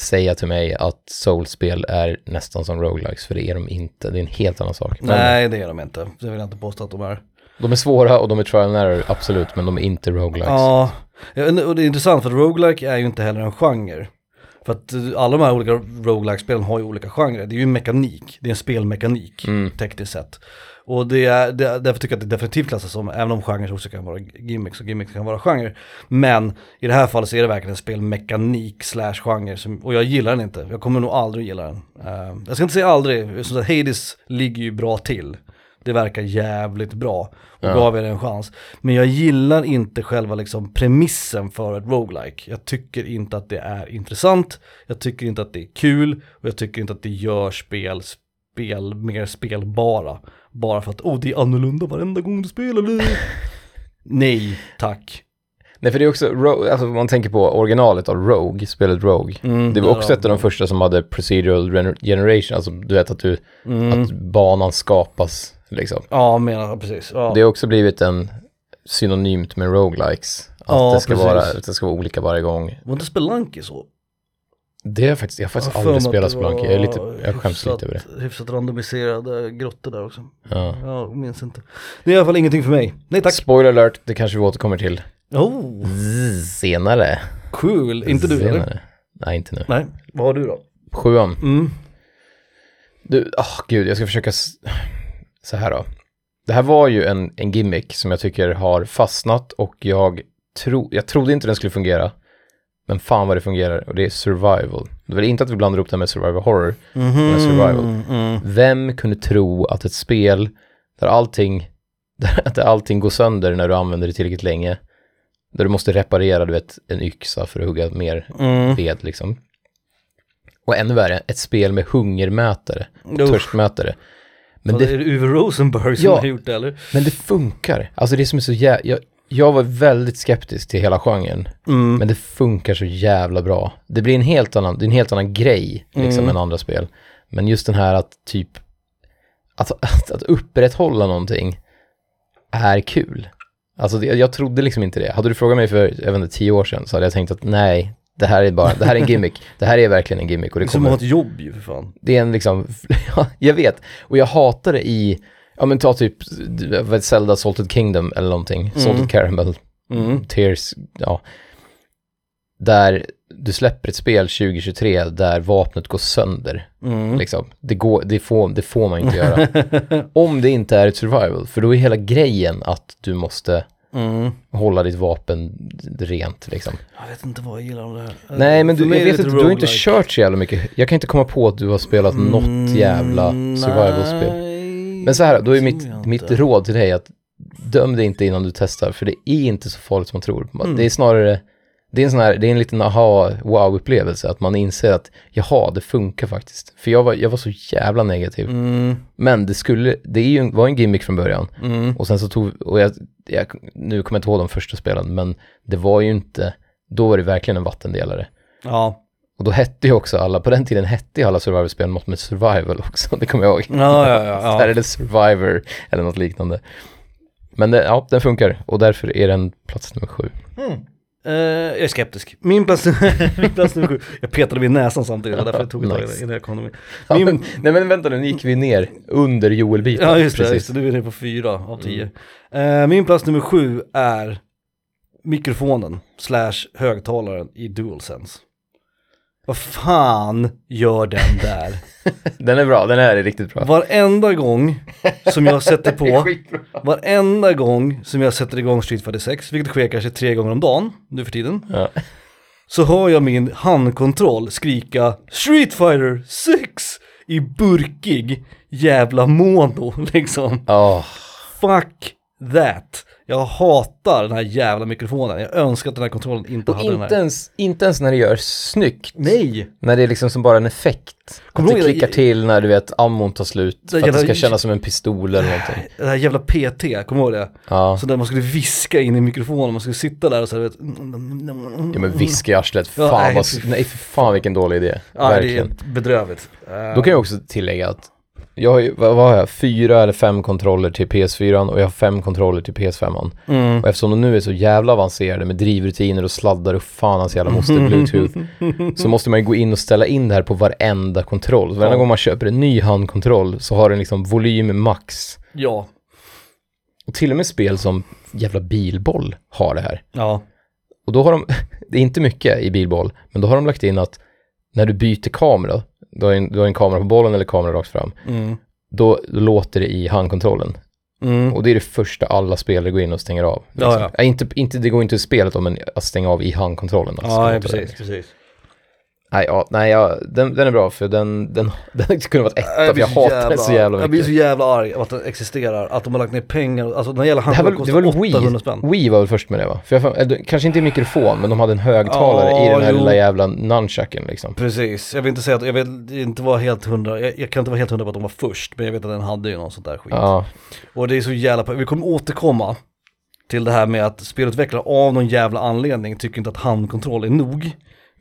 säga till mig att soulspel är nästan som roguelikes, för det är de inte. Det är en helt annan sak. Men
Nej det är de inte, det vill jag inte påstå att de är.
de är svåra och de är trial and error, absolut, men de är inte roguelikes.
Ja, jag vet inte, och det är intressant för roguelike är ju inte heller en genre. För att eh, alla de här olika roguelike-spelen har ju olika genrer. Det är ju en mekanik, det är en spelmekanik tekniskt sett. Och det är, det, därför tycker jag att det definitivt klassas som, även om genrer också kan vara gimmicks och gimmicks kan vara genrer. Men i det här fallet så är det verkligen en spelmekanik slash genre som, och jag gillar den inte. Jag kommer nog aldrig gilla den. Eh, jag ska inte säga aldrig, som sagt Hades ligger ju bra till. Det verkar jävligt bra och gav er en chans. Men jag gillar inte själva liksom premissen för ett roguelike. Jag tycker inte att det är intressant, jag tycker inte att det är kul och jag tycker inte att det gör spel, spel mer spelbara. Bara för att oh, det är annorlunda varenda gång du spelar. du." Nej, tack.
Nej, för det är också, Ro- alltså om man tänker på originalet av Rogue, spelet Rogue. det var
där
också
har
ett av de första som hade procedural gener- generation, alltså du vet att, du,
Mm.
att banan skapas liksom.
Ja, menar precis. Ja.
Det har också blivit en synonymt med roguelikes. Att,
Ja,
det ska
precis.
vara, att det ska vara olika varje gång.
Var inte Spelunky så?
Det har jag faktiskt, jag har faktiskt
Jag har för mig
aldrig
att
spelat
det
Spelunky. Jag, är lite,
var
jag skäms lite över det.
hyfsat- Hyfsat randomiserade grottor där också.
Ja.
Jag minns inte. Det är i alla fall ingenting för mig. Nej tack.
Spoiler alert, det kanske vi återkommer till
Oh,
senare.
cool. Inte du
senare.
eller?
Nej, inte nu.
Nej, vad har du då?
Sjuan.
Mm.
Du, ah gud, jag ska försöka... s- Så här då. Det här var ju en, en gimmick som jag tycker har fastnat och jag, tro, jag trodde inte den skulle fungera. Men fan vad det fungerar och det är survival. Det är inte att vi blandar ihop det här med survival horror, men survival. Vem kunde tro att ett spel där allting, där, där allting går sönder när du använder det tillräckligt länge, där du måste reparera, du vet, en yxa för att hugga mer ved liksom. Och ännu värre, ett spel med hungermätare,
Usch.
törstmätare. Men
Vad
det,
Är det Uwe Rosenberg som
Ja.
har gjort det eller?
men det funkar. Alltså det som är så jä... jag, jag var väldigt skeptisk till hela genren. Men det funkar så jävla bra. Det blir en helt annan, det är en helt annan grej liksom, än andra spel. Men just den här att typ, att, att, att upprätthålla någonting är kul. Alltså det, jag trodde liksom inte det. Hade du frågat mig för, jag vet inte, tio år sedan så hade jag tänkt att nej, det här är bara, det här är en gimmick. det här är verkligen en gimmick och det
Som har
kommer
ett jobb ju för fan.
det är en liksom, ja, jag vet. Och jag hatar det i, Ja men ta typ jag vet, Zelda Salted Kingdom eller någonting. Salted Caramel,
Mm.
Tears, ja. Där du släpper ett spel 2023 där vapnet går sönder.
Mm.
Liksom. Det, går, det, får, det får man inte göra. Om det inte är ett survival, för då är hela grejen att du måste
Mm.
hålla ditt vapen rent liksom.
Jag vet inte vad jag gillar om det här. Eh,
Nej men
För
du,
mig
jag
är det
vet
ett
inte, du har inte
roguelike.
kört så jävla mycket. Jag kan inte komma på att du har spelat något jävla
Mm,
survival-spel.
nej,
Men så här, då är
tror
mitt,
jag
mitt
inte.
råd till dig att döm dig inte innan du testar, för det är inte så farligt som man tror. Man-
Mm.
Det är snarare, det är en sån här, det är en liten aha, wow-upplevelse, att man inser att jaha, det funkar faktiskt. För jag var, jag var så jävla negativ.
Mm.
Men det skulle, det är ju, en- var en gimmick från början.
Mm.
Och sen så tog, och jag, jag, nu kommer jag inte ihåg de första spelen, men det var ju inte, då var det verkligen en vattendelare.
Ja.
Och då hette ju också alla, på den tiden hette ju alla survival-spel något med survival också, det kommer jag ihåg.
Ja, ja, ja, ja.
Där är det survivor eller något liknande. Men det, ja, den funkar och därför är den plats nummer sju.
Eh, jag är skeptisk. Min plats, min plats nummer sju, jag petade min näsan samtidigt, det var därför det tog ett tag
Nice.
innan jag kom med.
Ja,
Min-
men, nej men vänta nu, nu gick vi ner under Joel-biten.
Ja just det,
precis. Mm.
just det, du är nere på fyra av tio. Eh, min plats nummer sju är mikrofonen slash högtalaren i DualSense. Vad fan gör den där?
Den är bra, den här är riktigt bra.
Varenda gång som jag sätter
Det är
på,
skitbra.
varenda gång som jag sätter igång Street Fighter 6, vilket sker kanske tre gånger om dagen nu för tiden,
Ja.
så hör jag min handkontroll skrika Street Fighter 6 i burkig jävla mono liksom.
Ja,
Fuck that! Jag hatar den här jävla mikrofonen. Jag önskar att den här kontrollen inte
Och
hade den
inte
här.
ens, inte ens när det gör snyggt.
Nej!
När det är liksom som bara en effekt.
Kommer
att
du
det
ihåg det-
klickar till när du vet ammon tar slut. För att
jävla-
det ska kännas som en pistol eller någonting.
Det här jävla PT, kommer du ihåg det?
Ja.
Så där man skulle viska in i mikrofonen, man skulle sitta där och så här, vet,
Ja men viska i arslet,
Ja,
fan
nej,
vad,
fy-
nej för fan vilken dålig idé.
Ja, det
Verkligen.
är bedrövligt. Eh,
Då kan jag också tillägga att jag har ju, vad vad har jag, fyra eller fem kontroller till PS4 och jag har fem kontroller till PS5.
mm.
Och eftersom de nu är så jävla avancerade med drivrutiner och sladdar och fan hans jävla moster bluetooth.
Eh,
så måste man ju gå in och ställa in det här på varenda kontroll. Så varenda
Ja.
gång man köper en ny handkontroll så har den liksom volym max.
Ja.
Och till och med spel som jävla bilboll har det här.
Ja.
Och då har de, det är inte mycket i bilboll, men då har de lagt in att när du byter kamera, du har en, du har en kamera på bollen eller kamera rakt fram,
Mm.
då låter det i handkontrollen. Och det är det första alla spelare går in och stänger av. Liksom. Äh,
Ja, ja.
inte, inte, det går inte i spelet om, men att stänga av i handkontrollen. alltså.
Ja, ja,
Låter det.
precis. precis.
Nej, ja, nej ja, den, den är bra för den, den, den kunde varit
Äh,
etta, för jag hatar den så jävla mycket.
Jag blir så jävla arg av att den existerar, att de har lagt ner pengar, alltså den här jävla
Det, här var,
handkontrollen
det var
kostar 800
väl
spänn.
Wii? Wii var väl först med det va? För jag, fan- eller, kanske inte i mikrofon, men de hade en högtalare i
Ja,
den här
jo.
lilla jävla nunchucken liksom.
Precis, jag vill inte säga att, jag vet inte vara helt hundra, jag, jag kan inte vara helt hundra på att de var först, men jag vet att den hade ju någon sånt där skit.
Ja,
Och det är så jävla, vi kommer återkomma till det här med att spelutvecklare av någon jävla anledning tycker inte att handkontroll är nog.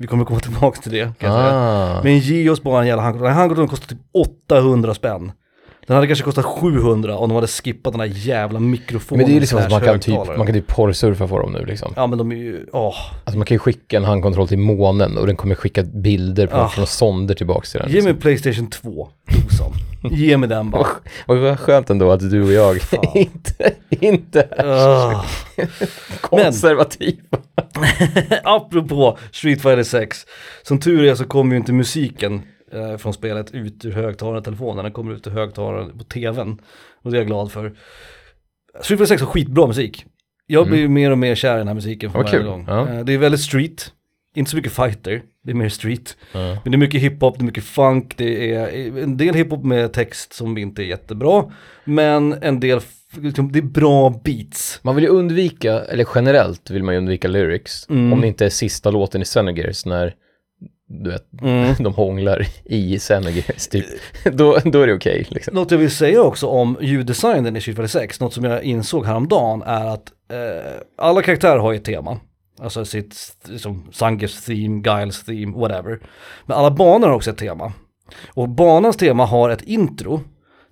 Vi kommer komma tillbaka till det kan jag säga.
ah.
Men ge oss bara en jävla handkontroll, den här handkontrollen kostar typ 800 spänn. Den hade kanske kostat 700 om de hade skippat den här jävla mikrofonen
men det är ju liksom att
slash
man kan, typ,
högtalaren.
man kan typ porrsurfa på dem nu liksom.
Ja men de är ju, åh.
Alltså man kan ju skicka en handkontroll till månen och den kommer skicka bilder på
Ah.
från sonder tillbaks till den.
Ge
Liksom.
mig Playstation 2, dosan. Ge mig den bara.
Och det var skönt ändå att du och jag
Fan.
inte, inte är
Ah.
konservativa.
Apropå Street Fighter 6, som tur är så kommer ju inte musiken eh, från spelet ut ur högtalaren i telefonen, den kommer ut ur högtalaren på tvn. Och det är jag glad för. Street Fighter 6 har skitbra musik. Jag blir ju mer och mer kär i den här musiken för
Mm. Vad
varje
kul,
gång.
ja.
Eh, det är väldigt street, inte så mycket fighter, det är mer street. Men det är mycket hiphop, det är mycket funk, det är eh, en del hiphop med text som inte är jättebra. Men en del, f- liksom, det är bra beats.
Man vill ju undvika, eller generellt vill man ju undvika lyrics,
Mm.
om det inte är sista låten i Xenogears när du vet, de hånglar i Xenogears typ.
Eh.
då, då är det okej liksom.
Något jag vill säga också om ljuddesignen i Street Fighter 6, något som jag insåg häromdagen är att eh, alla karaktärer har ju ett tema. Alltså sitt, liksom, Sangers theme, Giles theme, whatever. Men alla banor har också ett tema. Och banans tema har ett intro,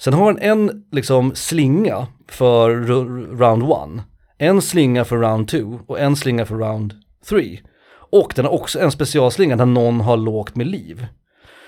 sen har den en liksom slinga för ru- round one, en slinga för round two och en slinga för round three. Och den har också en specialslinga där någon har lågt med liv.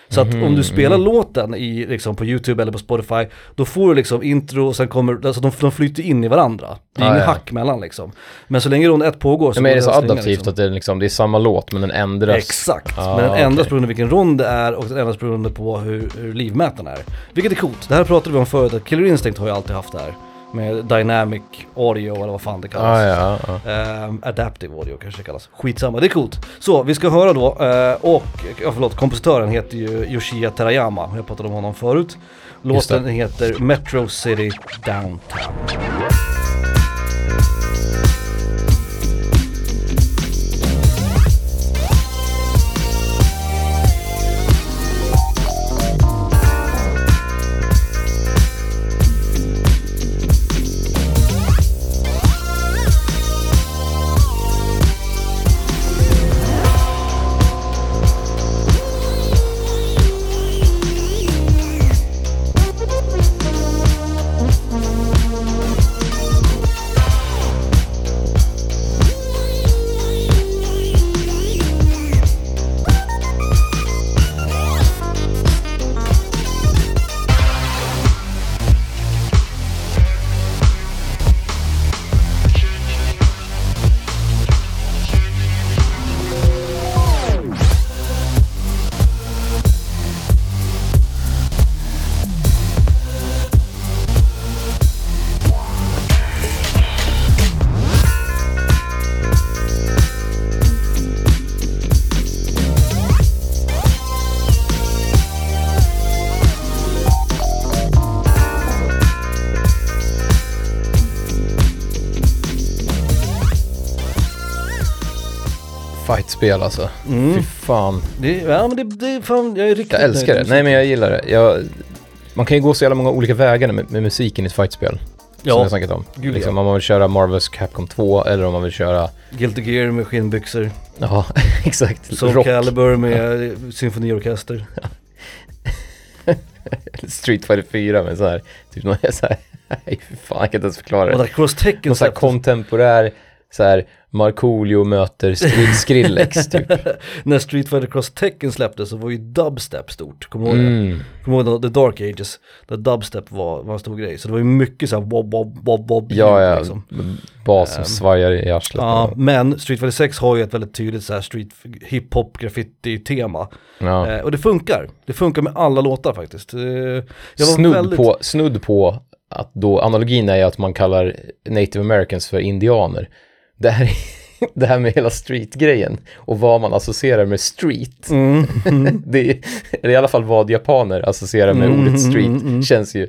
Så att
Mhm,
om du spelar låten i, liksom, på YouTube eller på Spotify, då får du liksom intro och sen kommer, alltså de, de flyter in i varandra. Det är
Ah,
ingen
ja.
hack mellan liksom. Men så länge rond ett pågår så
Men är
går
det så
att slänga,
adaptivt
liksom.
att det, är liksom, det är samma låt men den ändras?
Exakt,
Ah,
men den ändras
okej.
beroende på vilken rond det är och den ändras beroende på hur, hur livmätaren är. Vilket är coolt, det här pratade vi om förut, att Killer Instinct har ju alltid haft det här. Med Dynamic Audio eller vad fan det kallas.
Ah, ja, ja.
Ehm, adaptive audio kanske det kallas. Skitsamma, det är coolt. Så vi ska höra då, eh, och, ja förlåt, kompositören heter ju Yoshia Terayama, jag pratade om honom förut.
Just det.
Låten heter Metro City Downtown.
Fightspel alltså.
Mm.
Fy fan.
Det, är- ja men det, det är fan, jag är riktigt
Jag älskar det. Nej men jag gillar det. Jag, man kan ju gå så jävla många olika vägar med, med musiken i ett fightspel. Som jag
Ja,
snackat om.
Gud,
liksom, Om man vill köra Marvels Capcom 2 eller om man vill köra,
Guilty Gear med skinnbyxor,
ja exakt,
Soul
Typ rock,
Calibur med symfoniorkester.
Street Fighter 4 med så här, typ någon så här, nej fy fan jag kan inte ens förklara
Och
det.
där Cross Tekken
Någon så här
släpptes-
kontemporär, så här Markoolio möter Skri- Skrillex typ.
när Street Fighter Cross Tekken släpptes så var ju dubstep stort, kommer du ihåg det?
Mm.
Kommer du ihåg The Dark Ages? Där dubstep var, var en stor grej. Så det var ju mycket såhär bob, bob, bob, bob
Ja, ja,
liksom.
bas som
Ehm,
svajar i arslet.
Ja, men Street Fighter 6 har ju ett väldigt tydligt så här street hiphop graffiti tema.
Ja.
Eh, och det funkar. Det funkar med alla låtar faktiskt. Eh, jag var
snudd,
väldigt-
på, snudd på att då analogin är ju att man kallar native americans för indianer. Det här, är- det här med hela street-grejen och vad man associerar med street,
Mm,
det är, eller i alla fall vad japaner associerar med
Mm,
ordet street,
mm, mm.
känns ju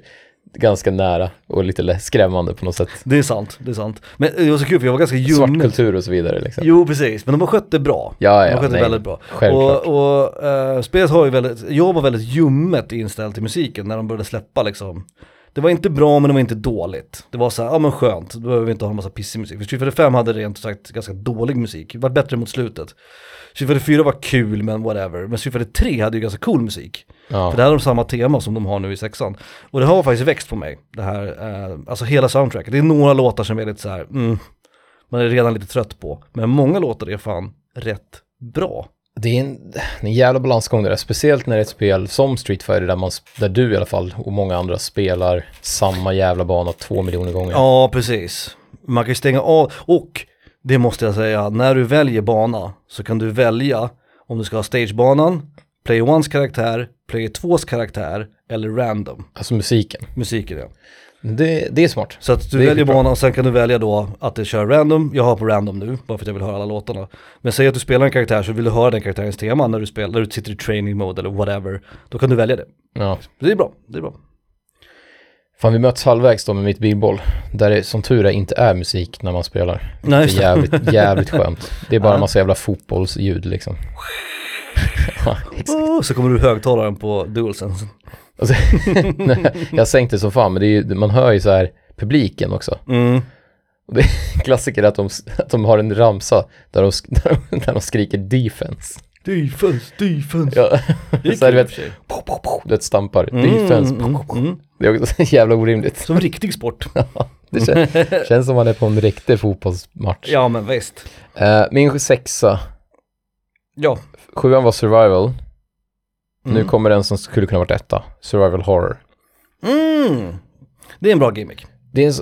ganska nära och lite lä- skrämmande på något sätt.
det är sant, det är sant. Men eh, det var så kul för jag var ganska
Svart
ljummen.
kultur och så vidare liksom.
Jo, precis. Men de har skött det bra.
Ja,
de har
ja,
skött det
nej.
väldigt bra.
Självklart.
Och, och eh, spelet har ju väldigt, jag var väldigt ljummet inställd till musiken när de började släppa liksom. Det var inte bra men det var inte dåligt. Det var så här, ja men skönt, då behöver vi inte ha en massa pissig musik. För Street Fighter 5 hade rent ut sagt ganska dålig musik, det var bättre mot slutet. Street Fighter 4 var kul men whatever, men Street Fighter 3 hade ju ganska cool musik.
Ja.
För där har de samma tema som de har nu i sexan. Och det har faktiskt växt på mig, det här, eh, alltså hela soundtracket. Det är några låtar som är lite så här, mm, man är redan lite trött på. Men många låtar är fan rätt bra.
Det är en, det är en jävla balansgång det där, speciellt när det är ett spel som Street Fighter där, man, sp- där du i alla fall och många andra spelar samma jävla bana två miljoner gånger.
Ja, precis. Man kan ju stänga av, och det måste jag säga, när du väljer bana så kan du välja om du ska ha stagebanan, player 1s karaktär, player 2s karaktär eller random
Alltså musiken.
musik i det.
Det, det är smart.
Så att du
Det är
väljer
skitbra.
banan och sen kan du välja då att det kör random, jag har på random nu bara för att jag vill höra alla låtarna. Men säg att du spelar en karaktär så vill du höra den karaktärens tema när du spelar, när du sitter i training mode eller whatever, då kan du välja det.
Ja.
Det är bra, det är bra.
Fan, vi möts halvvägs då med mitt bilboll. Där det som tur är inte är musik när man spelar.
Nej,
Det är
just det.
jävligt, jävligt skönt. Det är bara
Ja.
en massa jävla fotbollsljud liksom. Ja, exakt.
Oh, så kommer du högtalaren på DualSense.
Alltså, jag sänkte så fan, men det är ju, man hör ju så här publiken också.
Mm.
Och det är klassiker att de, att de har en ramsa där de, sk- där de, där de skriker defense.
Defense, defense.
Ja.
Det är
Så här, du
kul i och
vet,
för sig.
po, po, po, du vet, stampar.
Mm,
Defense.
mm, mm.
Det är också så jävla orimligt.
Som riktig sport.
Det känns, känns som man är på en riktig fotbollsmatch.
ja men visst.
Eh, min sexa,
Ja,
sjuan var survival. Nu kommer den som skulle kunna varit etta, survival horror.
Mm. Det är en bra gimmick.
Det är en, s-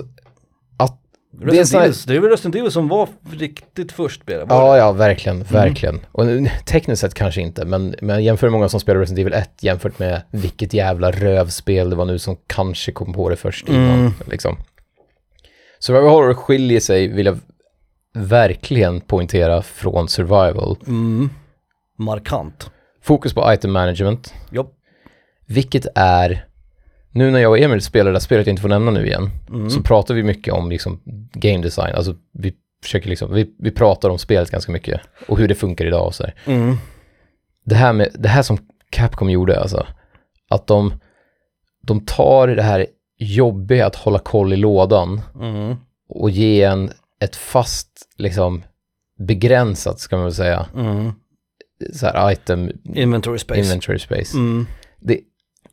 att, det är en
Resident
sån här,
Evil, det är väl Resident Evil som var riktigt först med det? var
Ja, mm. ja, verkligen, verkligen. Och nu- tekniskt sett kanske inte, men, men jämför hur många som spelar Resident Evil 1 jämfört med vilket jävla rövspel det var nu som kanske kom på det först innan. Liksom. Survival Horror skiljer sig, vill jag verkligen poängtera, från survival.
det? Mm. Markant.
Fokus på item management,
Ja.
vilket är, nu när jag och Emil spelar det här spelet jag inte får nämna nu igen, så pratar vi mycket om liksom game design, alltså vi försöker liksom, vi, vi pratar om spelet ganska mycket och hur det funkar idag och så här.
Mm.
det här, med, det här som Capcom gjorde alltså, att de, de tar det här jobbiga att hålla koll i lådan
Mm.
och ge en ett fast, liksom begränsat, ska man väl säga,
Mm.
så här item
Inventory space.
inventory space.
mm.
Det,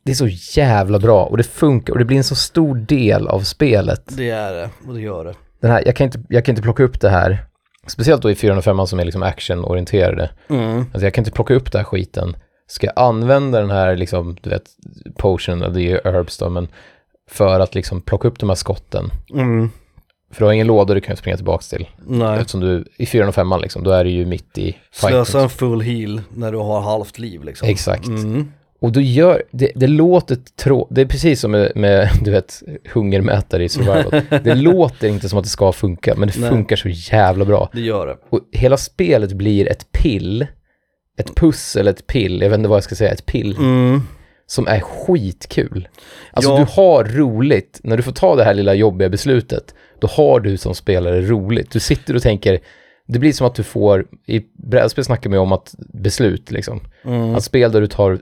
det är så jävla bra och det funkar och det blir en så stor del av spelet.
Det är det, och det gör det.
Den här, jag, kan inte, jag kan inte plocka upp det här, speciellt då i 405 som är liksom actionorienterade.
Mm.
Alltså jag kan inte plocka upp den här skiten. Ska jag använda den här liksom, du vet, potion, eller det är herbs då, men för att liksom plocka upp de här skotten?
Mm.
För du har ingen låda du kan springa tillbaka till.
Nej.
Eftersom du, i 405 liksom, då är du ju mitt i fighten.
Slösa en full heal när du har halvt liv liksom.
Exakt.
Mm.
Och du gör, det, det låter trå... Det är precis som med, med du vet, hungermätare i survival. det låter inte som att det ska funka, men det
Nej.
funkar så jävla bra.
Det gör det.
Och hela spelet blir ett pill, ett pussel, ett pill, jag vet inte vad jag ska säga, ett pill.
Mm.
som är skitkul. Alltså
Ja.
du har roligt, när du får ta det här lilla jobbiga beslutet, då har du som spelare roligt. Du sitter och tänker, det blir som att du får, i brädspel snackar man ju om att beslut liksom.
mm,
Att spel där du tar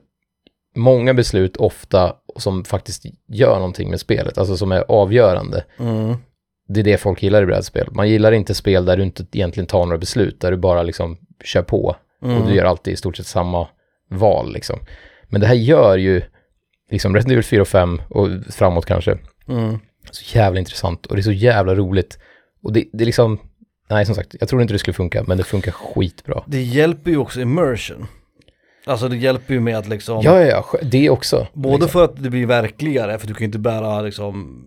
många beslut ofta och som faktiskt gör någonting med spelet, alltså som är avgörande.
Mm.
Det är det folk gillar i brädspel. Man gillar inte spel där du inte egentligen tar några beslut, där du bara liksom kör på och du gör alltid i stort sett samma val liksom. Men det här gör ju, liksom Resident Evil 4 och 5 och framåt kanske,
Mm.
så jävla intressant och det är så jävla roligt. Och det, det är liksom, nej som sagt, jag tror inte det skulle funka, men det funkar skitbra.
Det hjälper ju också immersion. Alltså det hjälper ju med att liksom
Ja, ja, ja, sj- det också.
Både för att det blir verkligare, för du kan ju inte bära liksom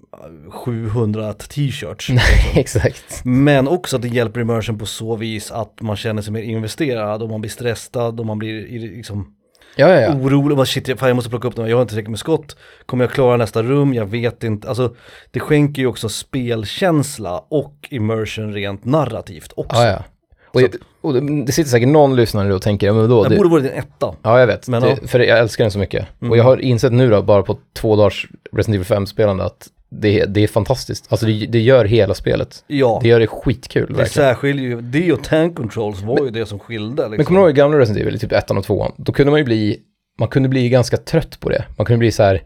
700 t-shirts.
Exakt.
Men också att det hjälper immersion på så vis att man känner sig mer investerad och man blir stressad och man blir i- liksom
Ja, ja, ja.
orolig. Vad shit, jag- fan, jag måste plocka upp dem, jag har inte tillräckligt med skott. Kommer jag klara nästa rum? Jag vet inte. Alltså det skänker ju också spelkänsla och immersion rent narrativt också.
Ah, ja, ja. Och, jag, och det- det sitter säkert någon lyssnare och tänker, ja men vadå?
Det
Det,
borde varit en etta.
ja, jag vet.
Men Mm.
det, för jag älskar den så mycket. Och jag har insett nu då, bara på två dagars Resident Evil 5-spelande, att det, det är fantastiskt. Alltså det, det gör hela spelet.
Ja,
Det
det,
gör det skitkul verkligen.
särskiljer ju, det och tank controls var ju det som skilde. Liksom.
Men kommer du ihåg i gamla Resident Evil, typ ettan och tvåan? Då kunde man ju bli, man kunde bli ganska trött på det. Man kunde bli så här,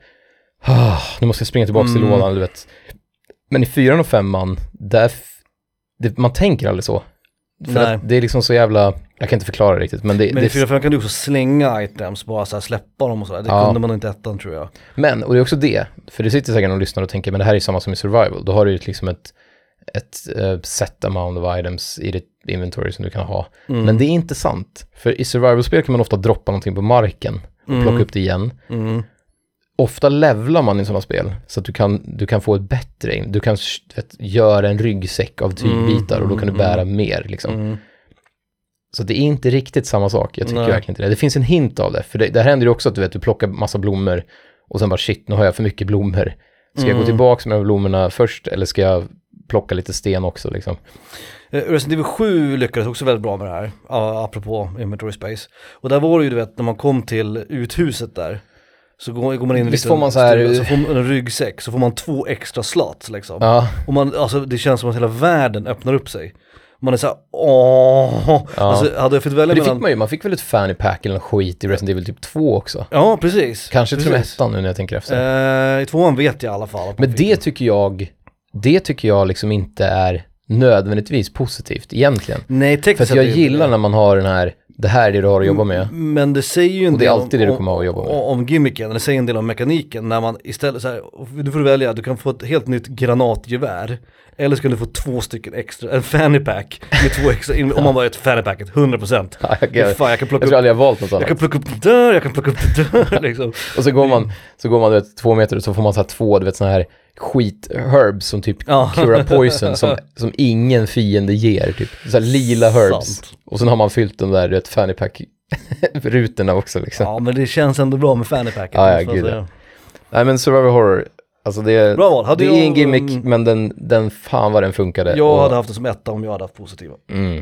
ah, nu måste jag springa tillbaka
Mm.
till lådan, du vet. Men i fyran och femman, där, f- det, man tänker aldrig så. För
Nej.
att det är liksom så jävla, jag kan inte förklara det riktigt, men det,
Men
det
i 4 kan du också slänga items, bara så här släppa dem och sådär. Det
Ja.
kunde man inte i ettan tror jag.
Men, och det är också det, för det sitter säkert någon lyssnare och tänker, men det här är ju samma som i survival. Då har du ju liksom ett, ett eh, set amount of items i ditt inventory som du kan ha. Men det är inte sant, för i survival-spel kan man ofta droppa någonting på marken och plocka upp det igen.
Mm,
Ofta levlar man i sådana spel, så att du kan, du kan få ett bättre, du kan sh- vet, göra en ryggsäck av tygbitar och då kan du bära mer liksom.
mm.
Så det är inte riktigt samma sak, jag tycker
Nej.
verkligen inte det. Det finns en hint av det, för det, där händer ju också att du vet, du plockar massa blommor och sen bara shit, nu har jag för mycket blommor. Ska
Mm.
jag gå tillbaka med de här blommorna först eller ska jag plocka lite sten också liksom?
Eh, Resident Evil 7 lyckades också väldigt bra med det här, ja, apropå Inventory Space. Och där var det ju du vet, när man kom till uthuset där, så går, går man in i en
Visst
liten
får man så här-
stuga, så får man en ryggsäck, så får man två extra slats liksom.
Ja,
Och man, alltså det känns som att hela världen öppnar upp sig. Man är såhär, åh, alltså hade jag fått välja
men det
mellan...
fick man ju, man fick väl ett fanny pack eller något skit i Resident Evil typ 2 också.
Ja, precis.
Kanske till och med
precis.
ettan nu när jag tänker efter.
Eh, I tvåan vet jag i alla fall. att man
Men
fick-
det tycker jag, det tycker jag liksom inte är nödvändigtvis positivt egentligen.
Nej,
För
tekniskt
att jag
är det ju inte
gillar
det.
när man har den här, det här är det du har att jobba med.
Men det säger ju en
Och det är
del
alltid det du kommer att jobba med.
om, om gimmicken, det säger en del om mekaniken när man istället så här, och du får välja, du kan få ett helt nytt granatgevär eller så kan du få två stycken extra, en fanny pack med två extra, in- om man bara är ett fanny packet, 100%.
Ja, jag,
Ja,
jag,
Fan, jag kan plocka
tror
upp,
aldrig jag har valt något
jag
annat.
kan plocka upp det där, jag kan plocka upp det där liksom.
Och så går man, så går man du vet, två meter och så får man så här två, du vet sådana här skit-herbs som typ
Ja.
cura poison som, som ingen fiende ger, typ. Så här lila herbs.
Sant.
Och sen har man fyllt de där, du vet, fanny pack-rutorna också liksom.
Ja men det känns ändå bra med fanny packet.
Ja, ja,
måste jag
gud,
säga.
Nej men survival horror, alltså det,
Bra val. Hade
det
jag-
är en gimmick,
mm.
men den, den fan vad den funkade.
Jag
Och-
hade haft det som etta om jag hade haft positiva.
Mm.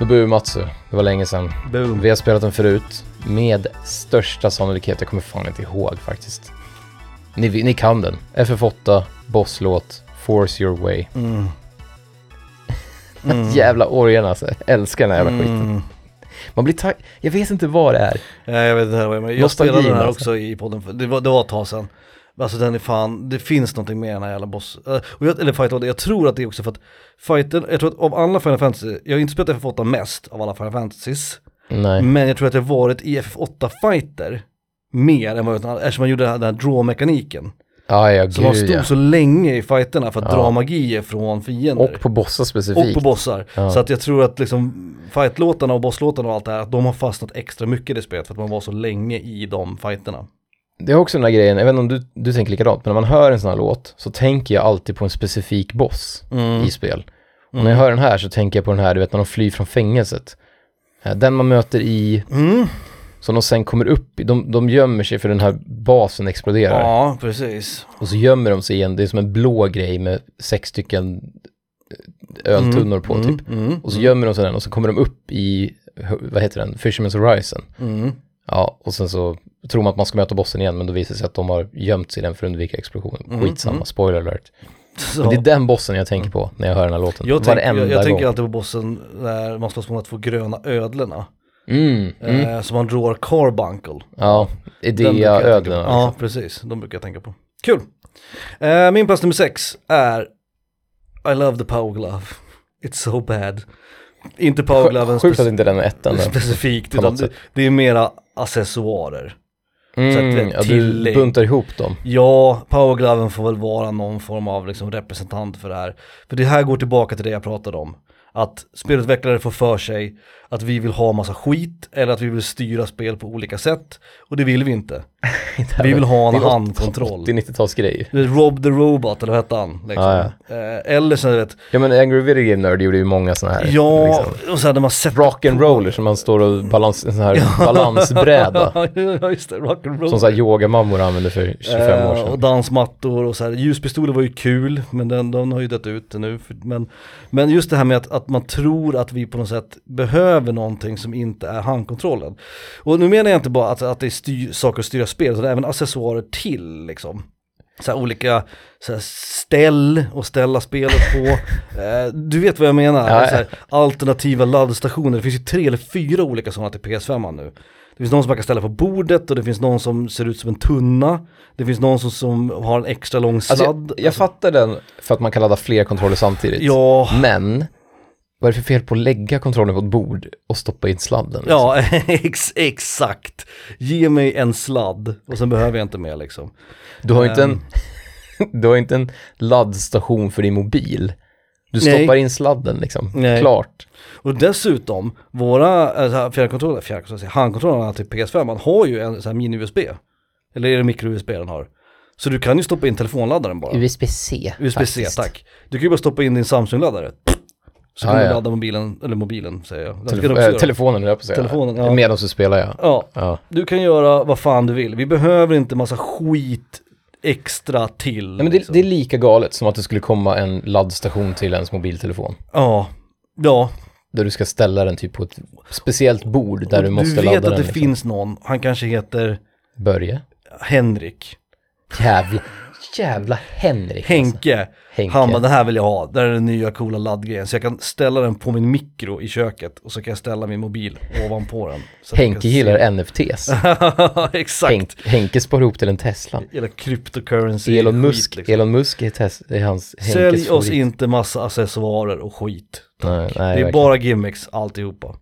Nobuo Matsu, det var länge sedan.
Boom.
Vi har spelat den förut. Med största sannolikhet, jag kommer fan inte ihåg faktiskt. Ni, ni kan den. FF8, bosslåt, Force Your Way.
Mm. Mm.
Jävla orgeln alltså. Jag Älskar den här jävla skiten.
Mm.
Man blir tag- Jag vet inte vad det är.
Nej jag vet inte vad jag menar. Jag
Nostalgin,
spelade den här
alltså.
också i podden, för det var, det var ett tag sedan. Men Alltså den är fan, det finns någonting med den här jävla boss, eh, och jag, eller fighten, jag tror att det är också för att fighten, jag tror att av alla Final Fantasy, jag har inte spelat FF8 mest av alla Final Fantasies,
Nej.
men jag tror att jag varit i FF8-fighter mer än vad jag, eftersom man gjorde den här, den här draw-mekaniken.
Ah, ja,
Så man
gud
stod
ja.
så länge i fighterna för att
Ja.
dra magier från fiender.
Och på bossar specifikt.
Och på bossar.
Ja.
Så att jag tror att liksom fightlåtarna och bosslåtarna och allt det här, att de har fastnat extra mycket i det spelet för att man var så länge i de fighterna.
Det är också den här grejen, jag vet inte om du, du tänker likadant, men när man hör en sån här låt så tänker jag alltid på en specifik boss
Mm.
i spel. Och när jag hör den här så tänker jag på den här, du vet när de flyr från fängelset. Eh, Den man möter i,
Mm.
som de sen kommer upp i, de, de gömmer sig för den här basen exploderar.
Ja, precis.
Och så gömmer de sig i en, det är som en blå grej med sex stycken eh, öltunnor på
Mm,
typ.
mm,
Och så gömmer de sig den och så kommer de upp i, vad heter den, Fisherman's Horizon.
mm.
Ja, och sen så tror man att man ska möta bossen igen, men då visar det sig att de har gömt sig i den för att undvika explosionen.
Mm,
Skitsamma, spoiler alert.
Så.
Men det är den bossen jag tänker på när jag hör den här låten.
Mm. jag tänker,
Varenda
jag, jag
gång.
tänker alltid på bossen när man slåss mot de två gröna ödlorna.
Mm, mm.
Eh, som man drar Carbuncle.
Ja,
Den brukar jag tänka på.
Idea-ödlorna.
Ja, precis. De brukar jag tänka på. Kul. Eh, min plats nummer sex är I love the power glove. It's so bad. Inte power gloven
Sjukt att inte den är ettan. då.
specifikt,
På
utan
något
det,
sätt.
det är mera accessoarer. att eh, det är
Mm, ja, du
tillägg.
buntar ihop dem.
Ja, powergloven får väl vara någon form av liksom representant för det här. För det här går tillbaka till det jag pratade om. Att spelutvecklare får för sig att vi vill ha massa skit eller att vi vill styra spel på olika sätt. Och det vill vi inte. Vi vill ha en
Det är åt-
handkontroll.
80-90-talsgrej.
Du vet, Rob the Robot, eller vad hette han? Liksom.
Ah, Ja,
Eh, Eller så du vet,
Ja men Angry Video Game Nerd gjorde ju många sådana här.
ja,
liksom,
och så hade man sett...
Rock'n'roller som man står och balans, en sån här balansbräda.
ja, just det, rock'n'roll.
Som såhär yogamammor använde för 25 år
Eh, Och
sedan.
dansmattor och så här. Ljuspistoler var ju kul, men den, den har ju dött ut nu. För, men, men just det här med att, att man tror att vi på något sätt behöver någonting som inte är handkontrollen. Och nu menar jag inte bara att, att det är styr, saker att styra spel, utan även accessoarer till liksom. Så här olika så här ställ och ställa spelet på. Eh, du vet vad jag menar.
Ja,
så här, alternativa laddstationer. Det finns ju tre eller fyra olika sådana till PS5 nu. Det finns någon som man kan ställa på bordet och det finns någon som ser ut som en tunna. Det finns någon som, som har en extra lång sladd.
Alltså, jag, jag fattar den för att man kan ladda fler kontroller samtidigt.
ja,
Men, vad är det för fel på att lägga kontrollen på ett bord och stoppa in sladden?
ja ex, exakt. Ge mig en sladd och sen behöver jag inte mer liksom.
Du har ju inte en,
Ehm.
du har ju inte en laddstation för din mobil. Du
Nej.
stoppar in sladden liksom,
Nej.
klart.
Och dessutom, våra eh, så här fjärrkontroller, fjärrkontroller, handkontrollerna till PS5 man har ju en så här mini-USB. Eller är det micro-USB den har? Så du kan ju stoppa in telefonladdaren bara.
USB-C.
USB-C, tack. Du kan ju bara stoppa in din Samsung-laddare. Så kan
Ah,
du
ja.
ladda mobilen, eller mobilen säger jag. Den ska du
Telefo-
också
äh,
göra.
telefonen, höll jag på att säga.
Telefonen, ja.
Medan du spelar, ja.
Ja,
ja.
du kan göra vad fan du vill. Vi behöver inte massa skit extra till.
Nej, men det,
liksom.
det är lika galet som att det skulle komma en laddstation till ens mobiltelefon.
Ja, ja.
Där du ska ställa den typ på ett speciellt bord där
Och
du måste
vet
ladda
att
den.
det
liksom.
finns någon, han kanske heter
Börje.
Henrik,
Jävla, jävla Henrik. Alltså.
Henke.
Henke.
Han bara, den här vill jag ha, där är den nya coola laddgrejen. Så jag kan ställa den på min mikro i köket och så kan jag ställa min mobil ovanpå den. Så att jag
Henke
kan se-
gillar NFTs.
Exakt.
Henk, Henke sparar ihop till en Tesla.
Hela cryptocurrency.
Elon
skit,
Musk,
liksom.
Elon Musk är, tes, är hans Henkes
Sälj oss
favorit.
inte massa accessoarer och skit.
Nej, nej,
det är
verkligen.
bara gimmicks alltihopa.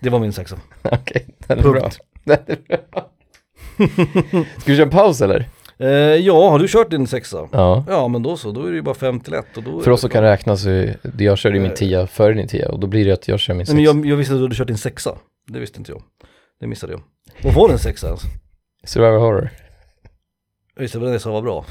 Det var min sexa.
Okej, den är
Punkt.
bra. Den är bra. Ska vi köra en paus eller?
Eh, ja, har du kört din sexa?
Ja.
Ja, men då så. Då är det ju bara fem till ett. Och då är
För
det
oss som kan räkna så, är- jag körde ju min tia före din tia och då blir det att jag kör min
Eh. Nej,
sexa.
men jag, jag visste att du hade kört din sexa. Det visste inte jag. Det missade jag. Vad var den sexa ens?
Survivor Horror.
Just det, det var den jag sa var bra.